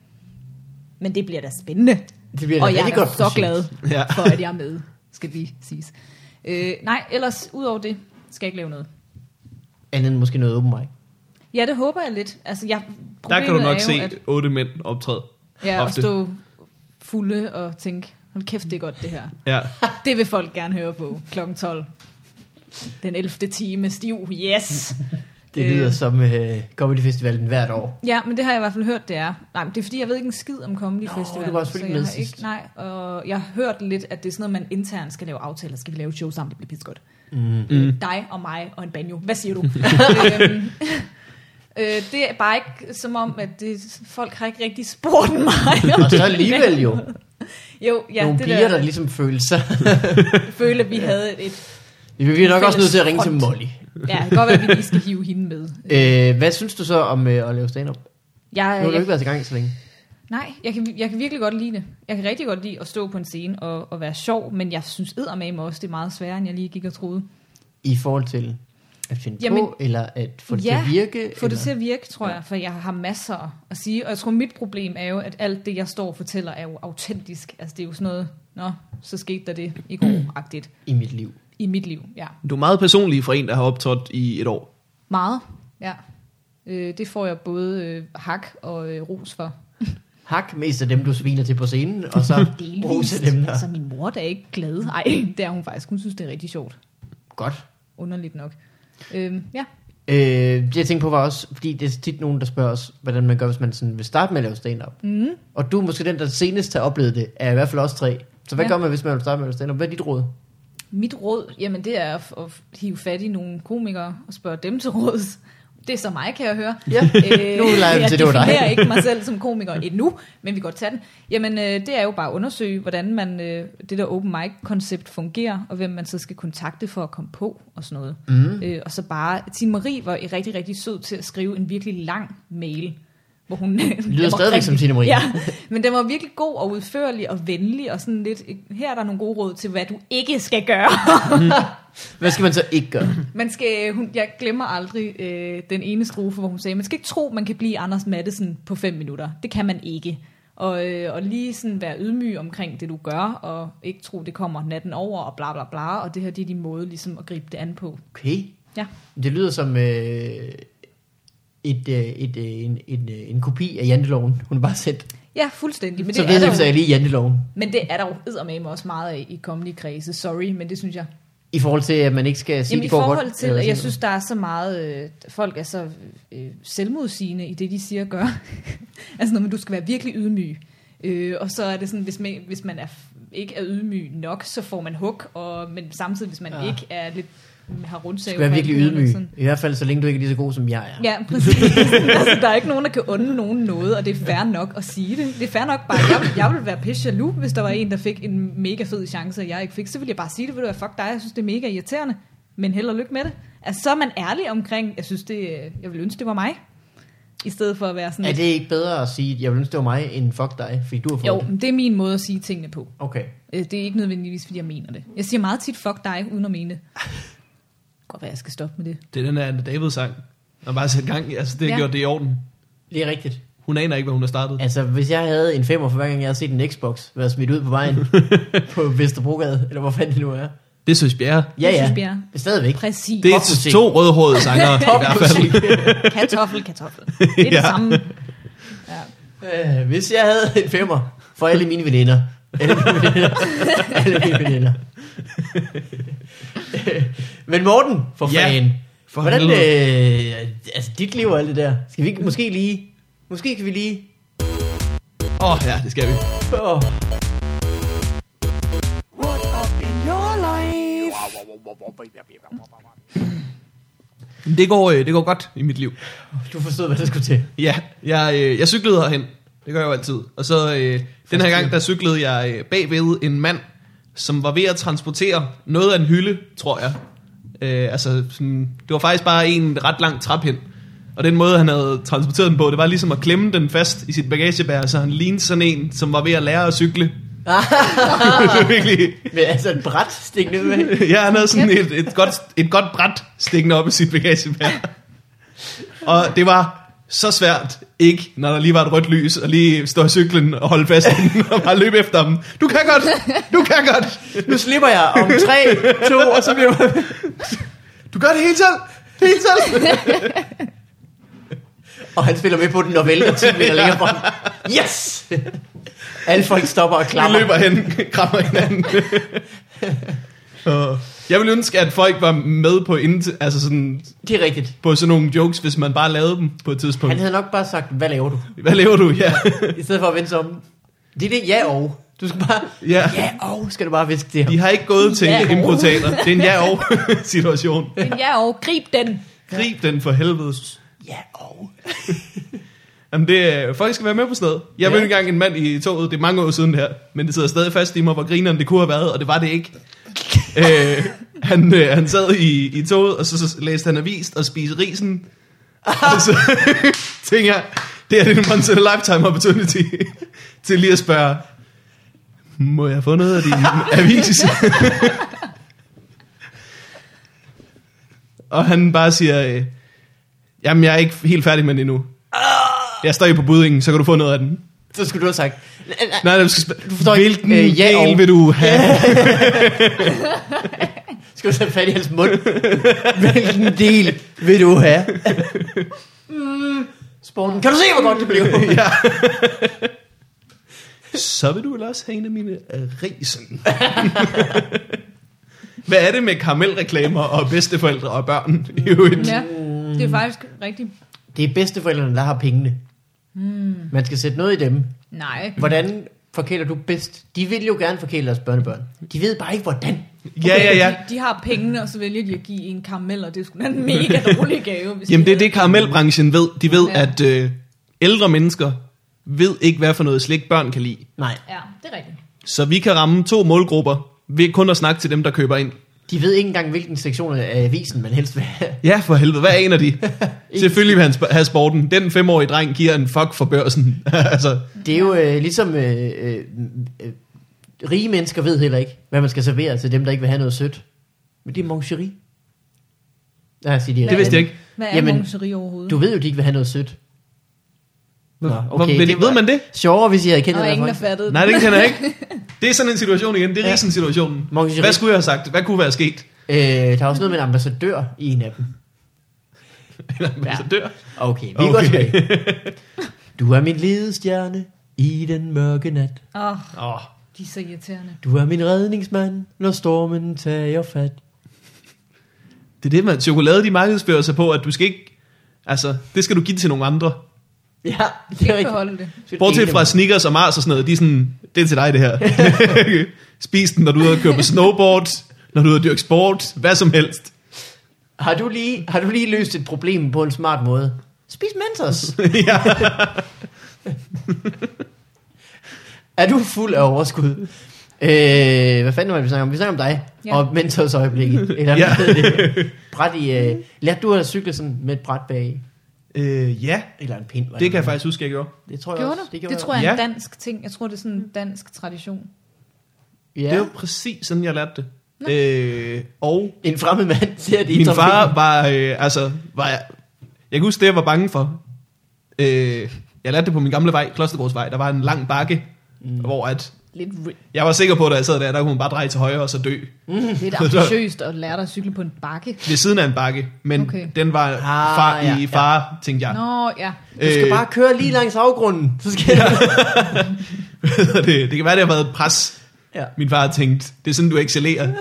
Speaker 2: Men det bliver da spændende.
Speaker 3: Det bliver
Speaker 2: og
Speaker 3: et
Speaker 2: jeg er da
Speaker 3: rigtig godt
Speaker 2: så
Speaker 3: projekt.
Speaker 2: glad
Speaker 1: Ja.
Speaker 2: for, at jeg er med, skal vi siges. Øh, nej, ellers udover det, skal jeg ikke lave noget.
Speaker 3: Andet end måske noget open mic.
Speaker 2: Ja, det håber jeg lidt. Altså, jeg,
Speaker 1: Der kan du
Speaker 2: problemet er
Speaker 1: nok
Speaker 2: jo,
Speaker 1: se
Speaker 2: at-
Speaker 1: otte mænd optræde.
Speaker 2: Ja, og
Speaker 1: Ofte.
Speaker 2: stå fulde og tænke, hold kæft, det er godt det her.
Speaker 1: Ja.
Speaker 2: Det vil folk gerne høre på klokken 12. Den 11. time, stiv, yes!
Speaker 3: Det
Speaker 2: Øh.
Speaker 3: lyder som øh, Comedy Festivalen hvert år.
Speaker 2: Ja, men det har jeg i hvert fald hørt, det er. Nej, men det er fordi, jeg ved ikke en skid om Comedy
Speaker 3: Nå,
Speaker 2: Festival.
Speaker 3: du var selvfølgelig
Speaker 2: så jeg
Speaker 3: med
Speaker 2: har
Speaker 3: sidst.
Speaker 2: Ikke, nej, og jeg har hørt lidt, at det er sådan noget, man internt skal lave aftaler. Skal vi lave et show sammen? Det bliver pissegodt.
Speaker 3: Mm.
Speaker 2: Mm. Dig og mig og en banjo. Hvad siger du? øhm, øh, det er bare ikke som om, at det, folk har ikke rigtig spurgt mig. om
Speaker 3: Og så
Speaker 2: det.
Speaker 3: alligevel jo
Speaker 2: Jo, ja,
Speaker 3: ja, nogle
Speaker 2: det
Speaker 3: piger, der
Speaker 2: der,
Speaker 3: ligesom følte sig.
Speaker 2: følte, at vi havde et
Speaker 3: Vi er nok også nødt til at ringe til
Speaker 2: Fælles front.
Speaker 3: Molly.
Speaker 2: Ja, det kan godt være, at vi lige skal hive hende med.
Speaker 3: Øh, hvad synes du så om øh, at lave stand-up? Nu
Speaker 2: Jeg,
Speaker 3: har du
Speaker 2: jeg,
Speaker 3: ikke været i gang så længe.
Speaker 2: nej, jeg kan, jeg kan virkelig godt lide det. Jeg kan rigtig godt lide at stå på en scene og, og være sjov, men jeg synes eddermame også, det er meget sværere, end jeg lige gik og troede.
Speaker 3: I forhold til at finde Jamen,
Speaker 2: Jamen,
Speaker 3: på, eller at få det
Speaker 2: ja,
Speaker 3: til at virke?
Speaker 2: Få
Speaker 3: eller?
Speaker 2: det til at virke, tror jeg, for jeg har masser at sige. Og jeg tror, mit problem er jo, at alt det, jeg står og fortæller, er jo autentisk. Altså, det er jo sådan noget, nå, så skete der det i går-agtigt
Speaker 3: I mit liv.
Speaker 2: i mit liv. Ja,
Speaker 1: Du er meget personlig for en, der har optrådt i et år.
Speaker 2: meget. Ja. Øh, det får jeg både øh, hak og øh, ros for.
Speaker 3: Hak mest af dem, du sviner til på scenen, og så rose
Speaker 2: Delvist.
Speaker 3: dem der.
Speaker 2: Altså, min mor der er ikke glad. Ej, det er hun faktisk. Hun synes, det er rigtig sjovt.
Speaker 3: Godt.
Speaker 2: Underligt nok. Øhm, ja.
Speaker 3: Øh, det jeg tænkte på var også, fordi det er tit nogen, der spørger os, hvordan man gør, hvis man sådan vil starte med at lave stand-up. Mm.
Speaker 2: Mhm.
Speaker 3: Og du er måske den, der senest har oplevet det, er i hvert fald også tre. Så hvad
Speaker 2: Ja.
Speaker 3: ja. gør man, hvis man vil starte med at lave stand-up? Hvad er dit råd?
Speaker 2: Mit råd, jamen det er at, at hive fat i nogle komikere og spørge dem til råds. Det er så mig, kan jeg høre.
Speaker 3: Ja.
Speaker 2: Øh,
Speaker 3: Nu leger vi
Speaker 2: jeg
Speaker 3: til, det var dig.
Speaker 2: definerer ikke mig selv som komiker endnu, men vi kan godt tage den. Jamen, øh, det er jo bare at undersøge, hvordan man, øh, det der open mic-koncept fungerer, og hvem man så skal kontakte for at komme på, og sådan noget. Mm. Øh, og så bare, Tine Marie var rigtig, rigtig sød til at skrive en virkelig lang mail, hvor hun... den var
Speaker 3: stadigvæk som
Speaker 2: rigtig-
Speaker 3: Tine Marie.
Speaker 2: Ja, men den var virkelig god og udførlig og venlig, og sådan lidt, her er der nogle gode råd til, hvad du ikke skal gøre.
Speaker 3: Hvad skal man så ikke gøre?
Speaker 2: Man skal, øh, hun, jeg glemmer aldrig øh, den ene strofe, hvor hun sagde, man skal ikke tro, man kan blive Anders Mattesen på fem minutter. Det kan man ikke. Og, øh, og lige sådan være ydmyg omkring det, du gør, og ikke tro, det kommer natten over, og bla bla bla, og det her, det er din måde ligesom at gribe det an på.
Speaker 3: Okay.
Speaker 2: Ja,
Speaker 3: Det lyder som øh, et, øh, et, øh, en, en, øh, en kopi af janteloven, hun har bare sendt.
Speaker 2: ja fuldstændig. Men
Speaker 3: Så
Speaker 2: det, er
Speaker 3: ved jeg,
Speaker 2: der
Speaker 3: så
Speaker 2: jo,
Speaker 3: jeg lige janteloven.
Speaker 2: men det er der jo eddermame også meget af i kommende kredse. Sorry, men det synes jeg.
Speaker 3: I forhold til, at man ikke skal sige,
Speaker 2: Jamen, i
Speaker 3: det går
Speaker 2: forhold
Speaker 3: godt.
Speaker 2: til,
Speaker 3: eller
Speaker 2: at jeg
Speaker 3: sådan
Speaker 2: synes, der er så meget, øh, folk er så øh, selvmodsigende i det, de siger og gør. altså, når man, du skal være virkelig ydmyg. Øh, og så er det sådan, hvis man, hvis man er, ikke er ydmyg nok, så får man hug, og, men samtidig, hvis man
Speaker 3: Ja.
Speaker 2: ja. ikke er lidt, har rundt
Speaker 3: noget. Du skal være virkelig ydmyg. I hvert fald, så længe du ikke er lige så god, som jeg er.
Speaker 2: Ja, præcis. altså, der er ikke nogen, der kan unde nogen noget, og det er fair nok at sige det. Det er fair nok bare, jeg, vil- jeg ville være pisse jaloux, hvis der var en, der fik en mega fed chance, og jeg ikke fik. Så ville jeg bare sige det, ved du hvad, fuck dig, jeg synes, det er mega irriterende, men held og lykke med det. Altså, så er man ærlig omkring, jeg synes, det, jeg ville ønske, det var mig, i stedet for at være sådan...
Speaker 3: Er det ikke bedre at sige, at jeg vil ønske, det var mig, end fuck dig, fordi du har fået
Speaker 2: Jo,
Speaker 3: det?
Speaker 2: men det er min måde at sige tingene på.
Speaker 3: Okay.
Speaker 2: Øh, Det er ikke nødvendigvis, fordi jeg mener det. Jeg siger meget tit, fuck dig, uden at mene det. Godt være, jeg skal stoppe med det.
Speaker 1: Det er den her Anne David-sang. Og bare sætte gang i. Altså, det har
Speaker 2: Ja.
Speaker 1: ja. gjort det i orden.
Speaker 3: Det er rigtigt.
Speaker 1: Hun aner ikke, hvad hun har startet.
Speaker 3: Altså, hvis jeg havde en femmer for hver gang, jeg havde set en Xbox være smidt ud på vejen på Vesterbrogade, eller hvor fanden det nu er.
Speaker 1: Det synes Bjerre.
Speaker 3: Ja,
Speaker 2: Det synes
Speaker 3: ja.
Speaker 2: Bjerre.
Speaker 3: Stadigvæk.
Speaker 2: Præcis.
Speaker 1: Det er
Speaker 3: Popmusik.
Speaker 1: to rødhårede sangere i hvert fald.
Speaker 2: Kartoffel, kartoffel. Det er det
Speaker 1: Ja.
Speaker 2: samme. Ja.
Speaker 3: Øh, hvis jeg havde en femmer for alle mine veninder. Alle mine veninder. alle mine veninder. Øh, Men Morten, for
Speaker 1: Ja,
Speaker 3: fanden.
Speaker 1: for
Speaker 3: Hvordan,
Speaker 1: helvede.
Speaker 3: øh, altså dit liv og alt det der. Skal vi ikke- måske lige... Måske kan vi lige...
Speaker 1: Åh, oh, ja, det skal vi.
Speaker 3: Åh,
Speaker 4: What up in your life?
Speaker 1: Men Det går, øh, det går godt i mit liv.
Speaker 3: du forstod, hvad der skulle til.
Speaker 1: Ja, jeg, øh, jeg cyklede herhen. Det gør jeg jo altid. Og så øh, den her gang, der cyklede jeg øh, bagved en mand, som var ved at transportere noget af en hylde, tror jeg. Øh, altså, sådan, det var faktisk bare en ret lang træpind. Og den måde, han havde transporteret den på, det var ligesom at klemme den fast i sit bagagebær, så han lignede sådan en, som var ved at lære at cykle. Det var virkelig,
Speaker 3: Men altså et bræt stik ned med.
Speaker 1: ja, han havde sådan et, et, godt, et godt bræt stikkende op i sit bagagebær. Og det var så svært ikke, når der lige var et rødt lys, og lige stå i cyklen og holde fast i den, og bare løbe efter dem. Du kan godt! Du kan godt!
Speaker 3: Nu slipper jeg om 3, 2, og så bliver jeg...
Speaker 1: Du gør det hele selv! Det hele selv!
Speaker 3: Og han spiller med på den og vælter 10 meter længere frem. Yes! Alle folk stopper og
Speaker 1: Vi
Speaker 3: klapper.
Speaker 1: løber hen, krammer hinanden. Og Jeg ville ønske, at folk var med på, ind, altså sådan,
Speaker 3: Det er rigtigt.
Speaker 1: på sådan nogle jokes, hvis man bare lavede dem på et
Speaker 3: Han
Speaker 1: tidspunkt.
Speaker 3: havde nok bare sagt, hvad laver du?
Speaker 1: Hvad laver du? Ja.
Speaker 3: I stedet for at vende sig om. Det er det ja og. Du skal bare,
Speaker 1: ja.
Speaker 3: ja og, skal du bare viske det her.
Speaker 1: De har ikke gået til
Speaker 2: Ja.
Speaker 1: ja. improtater. Det er en ja-og-situation.
Speaker 2: Men ja, og grib den.
Speaker 1: Grib den for helvede.
Speaker 3: Ja og.
Speaker 1: Jamen det, er- folk skal være med på sådan noget. Jeg
Speaker 3: Ja.
Speaker 1: mødte engang en mand i toget, det er mange år siden det her, men det sidder stadig fast i mig, hvor grineren det kunne have været, og det var det ikke. øh, han, øh, han sad i, i toget, og så, så læste han avis og spiste risen. og så tænker jeg, det her det er en once in a lifetime opportunity til lige at spørge, må jeg få noget af din avis? og han bare siger, øh, jamen jeg er ikke helt færdig med den endnu. Jeg står jo på buddingen, så kan du få noget af den.
Speaker 3: Så skulle du have sagt, "Nej, nej,
Speaker 1: Nej, nej, du skal spørge, du
Speaker 3: forstår
Speaker 1: forstår
Speaker 3: ikke.
Speaker 1: hvilken
Speaker 3: Øh,
Speaker 1: øh,
Speaker 3: ja,
Speaker 1: ja,
Speaker 3: og-
Speaker 1: del vil du have?
Speaker 3: skal du tage fat i hans mund? Hvilken del vil du have? mm, sporten. Mm, Kan du se, hvor godt det blev?
Speaker 1: ja. så vil du vel også have en af mine øh, risen. Hvad er det med karamelreklamer og bedsteforældre og børn i øvrigt?
Speaker 2: Ja, det er faktisk rigtigt.
Speaker 3: Det er bedsteforældrene, der har pengene. Man skal sætte noget i dem.
Speaker 2: Nej.
Speaker 3: Hvordan forkæler du bedst? De vil jo gerne forkæle deres børnebørn. De ved bare ikke, hvordan.
Speaker 1: Ja, ja, ja.
Speaker 2: De, de har pengene, og så vælger de at give en karamel, og det er sgu da en mega dårlig gave. Hvis
Speaker 1: Jamen det
Speaker 2: de
Speaker 1: er det, karamelbranchen ved. De ved,
Speaker 2: Ja.
Speaker 1: at øh, ældre mennesker ved ikke, hvad for noget slik børn kan lide.
Speaker 3: Nej,
Speaker 2: Ja, det er rigtigt.
Speaker 1: Så vi kan ramme to målgrupper ved kun at snakke til dem, der køber ind.
Speaker 3: de ved ikke engang, hvilken sektion af avisen man helst vil have.
Speaker 1: Ja, for helvede. Hvad aner de? Selvfølgelig vil han sp- have sporten. Den femårige dreng giver en fuck for børsen. altså,
Speaker 3: Det er jo øh, ligesom... Øh, øh, øh, rige mennesker ved heller ikke, hvad man skal servere til dem, der ikke vil have noget sødt. Men det er moncherie. Nej, jeg siger, de er
Speaker 1: det vidste jeg ikke.
Speaker 2: Hvad er
Speaker 3: Jamen,
Speaker 2: Jamen, moncherie overhovedet?
Speaker 3: Du ved jo, de ikke vil have noget sødt. Nå,
Speaker 1: Hvor- ved-
Speaker 3: det var
Speaker 1: ved man det?
Speaker 3: Sjovere, hvis jeg havde kendt
Speaker 2: Der var
Speaker 3: det. der
Speaker 2: ingen, der
Speaker 3: folk.
Speaker 2: fattede
Speaker 1: Nej,
Speaker 2: den.
Speaker 1: det kan jeg ikke. Det er sådan en situation igen. Det er
Speaker 3: Ja.
Speaker 1: ja. situationen.
Speaker 3: Moncherie.
Speaker 1: Hvad skulle jeg have sagt? Hvad kunne være sket?
Speaker 3: Øh, der er også noget med en ambassadør i en af dem.
Speaker 1: Ja. Så dør.
Speaker 3: Okay, vi okay.
Speaker 1: Okay.
Speaker 3: går tilbage. Du er min ledestjerne i den mørke nat.
Speaker 2: Åh, oh,
Speaker 1: Oh.
Speaker 2: de er så irriterende.
Speaker 3: Du er min redningsmand, når stormen tager fat.
Speaker 1: Det er det, man chokolade, de markedsfører sig på, at du skal ikke... Altså, det skal du give til nogle andre.
Speaker 3: Ja, det er
Speaker 2: Ikke
Speaker 3: rigtigt.
Speaker 2: beholde det.
Speaker 3: Så
Speaker 1: Bortset
Speaker 3: dele
Speaker 1: fra
Speaker 3: dem.
Speaker 1: sneakers og Mars og sådan noget, de er sådan, det er til dig det her. Spis den, når du er ude at køre på snowboard, når du er ude at dyrke sport, hvad som helst.
Speaker 3: Har du, lige, har du lige løst et problem på en smart måde? Spis Mentos.
Speaker 1: ja.
Speaker 3: Er du fuld af overskud? Øh, hvad fanden var det, vi snakker om? Vi snakker om dig ja.
Speaker 2: Ja.
Speaker 3: og Mentos øjeblikket. Eller ja.
Speaker 1: Ja.
Speaker 3: det. Bræt i... Øh, lærte du at cykle sådan med et bræt bag i?
Speaker 1: Øh, ja,
Speaker 3: Eller en pind? var
Speaker 1: det kan jeg faktisk huske, jeg gjorde.
Speaker 3: Det tror jeg
Speaker 2: Gjorde
Speaker 3: også.
Speaker 2: du? Det, det tror jeg
Speaker 1: også.
Speaker 2: er en
Speaker 1: Ja.
Speaker 2: dansk ting. Jeg tror, det er sådan en dansk tradition.
Speaker 3: Ja.
Speaker 1: Det var præcis sådan, jeg lærte det. Øh, og
Speaker 3: En fremmed mand ser det i
Speaker 1: min
Speaker 3: trafikken.
Speaker 1: far var, øh, altså, var jeg, jeg kan huske det, jeg var bange for. Øh, jeg lærte det på min gamle vej, Klostergårdsvej. Der var en lang bakke, mm. hvor at,
Speaker 2: Lidt,
Speaker 1: jeg var sikker på, da jeg sad der, der kunne man bare dreje til højre og så dø.
Speaker 2: lidt ambitiøst at lære dig at cykle på en bakke.
Speaker 1: Ved siden af en bakke, men
Speaker 2: Okay.
Speaker 1: okay. den var far
Speaker 3: Ah, ja, ja.
Speaker 1: i far, tænkte jeg.
Speaker 2: Nå, ja.
Speaker 3: Du
Speaker 1: øh,
Speaker 3: skal bare køre lige langs afgrunden. Så skal ja.
Speaker 1: det, det kan være, det har været et pres.
Speaker 3: Ja.
Speaker 1: Min far tænkte, det er sådan, du excellerer. Det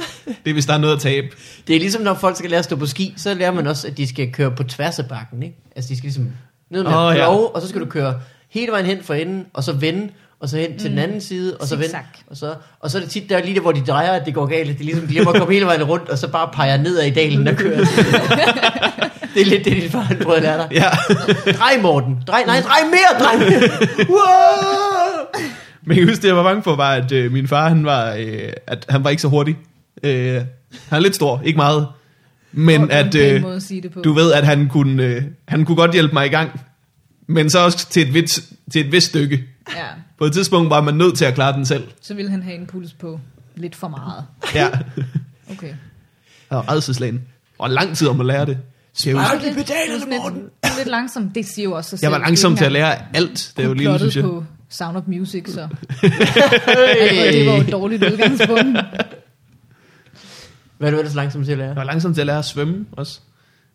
Speaker 1: er, hvis der er noget at tabe.
Speaker 3: Det er ligesom, når folk skal lære at stå på ski, så lærer man også, at de skal køre på tværs af bakken. Ikke? Altså, de skal ligesom ned med oh,
Speaker 1: Åh, ja.
Speaker 3: plov, ja. og så skal du køre hele vejen hen fra enden, og så vende, og så hen til den anden side, og så vende.
Speaker 2: Mm. Zigzag.
Speaker 3: Og så, og så er det tit der lige der, hvor de drejer, at det går galt, at de ligesom glemmer at komme hele vejen rundt, og så bare peger nedad i dalen og kører. det er lidt det, din far han prøvede at lære dig.
Speaker 1: Ja.
Speaker 3: Drej, Morten. Drej, nej, drej mere, drej mere. Wow!
Speaker 1: Men jeg husker, det jeg var bange for, var, at øh, min far, han var, øh, at han var ikke så hurtig. Øh, han er lidt stor, ikke meget. Men
Speaker 2: Åh, det er en
Speaker 1: at,
Speaker 2: pæn
Speaker 1: øh,
Speaker 2: måde at sige det på.
Speaker 1: du ved, at han kunne, øh, han kunne godt hjælpe mig i gang. Men så også til et, vits, til et vist stykke.
Speaker 2: ja.
Speaker 1: På et tidspunkt var man nødt til at klare den selv.
Speaker 2: Så ville han have en puls på lidt for meget.
Speaker 1: Ja,
Speaker 2: Okay.
Speaker 1: og redselslagen. Og lang tid om at lære det. Det er jo,
Speaker 2: Var
Speaker 3: Hold
Speaker 2: du
Speaker 3: de
Speaker 2: det?
Speaker 3: pedalerne,
Speaker 2: Du er sådan lidt, du er lidt langsom. Det siger jo også sig
Speaker 1: jeg var
Speaker 2: selv.
Speaker 1: langsom til at
Speaker 2: Ikke engang
Speaker 1: lære alt, det er jo lige,
Speaker 2: plottet
Speaker 1: synes jeg.
Speaker 2: på Sound of Music, så. Allerede det var jo et dårligt udgangspunkt.
Speaker 3: Hvad er du ellers langsomt til at lære?
Speaker 1: Jeg var langsom til at lære at svømme også.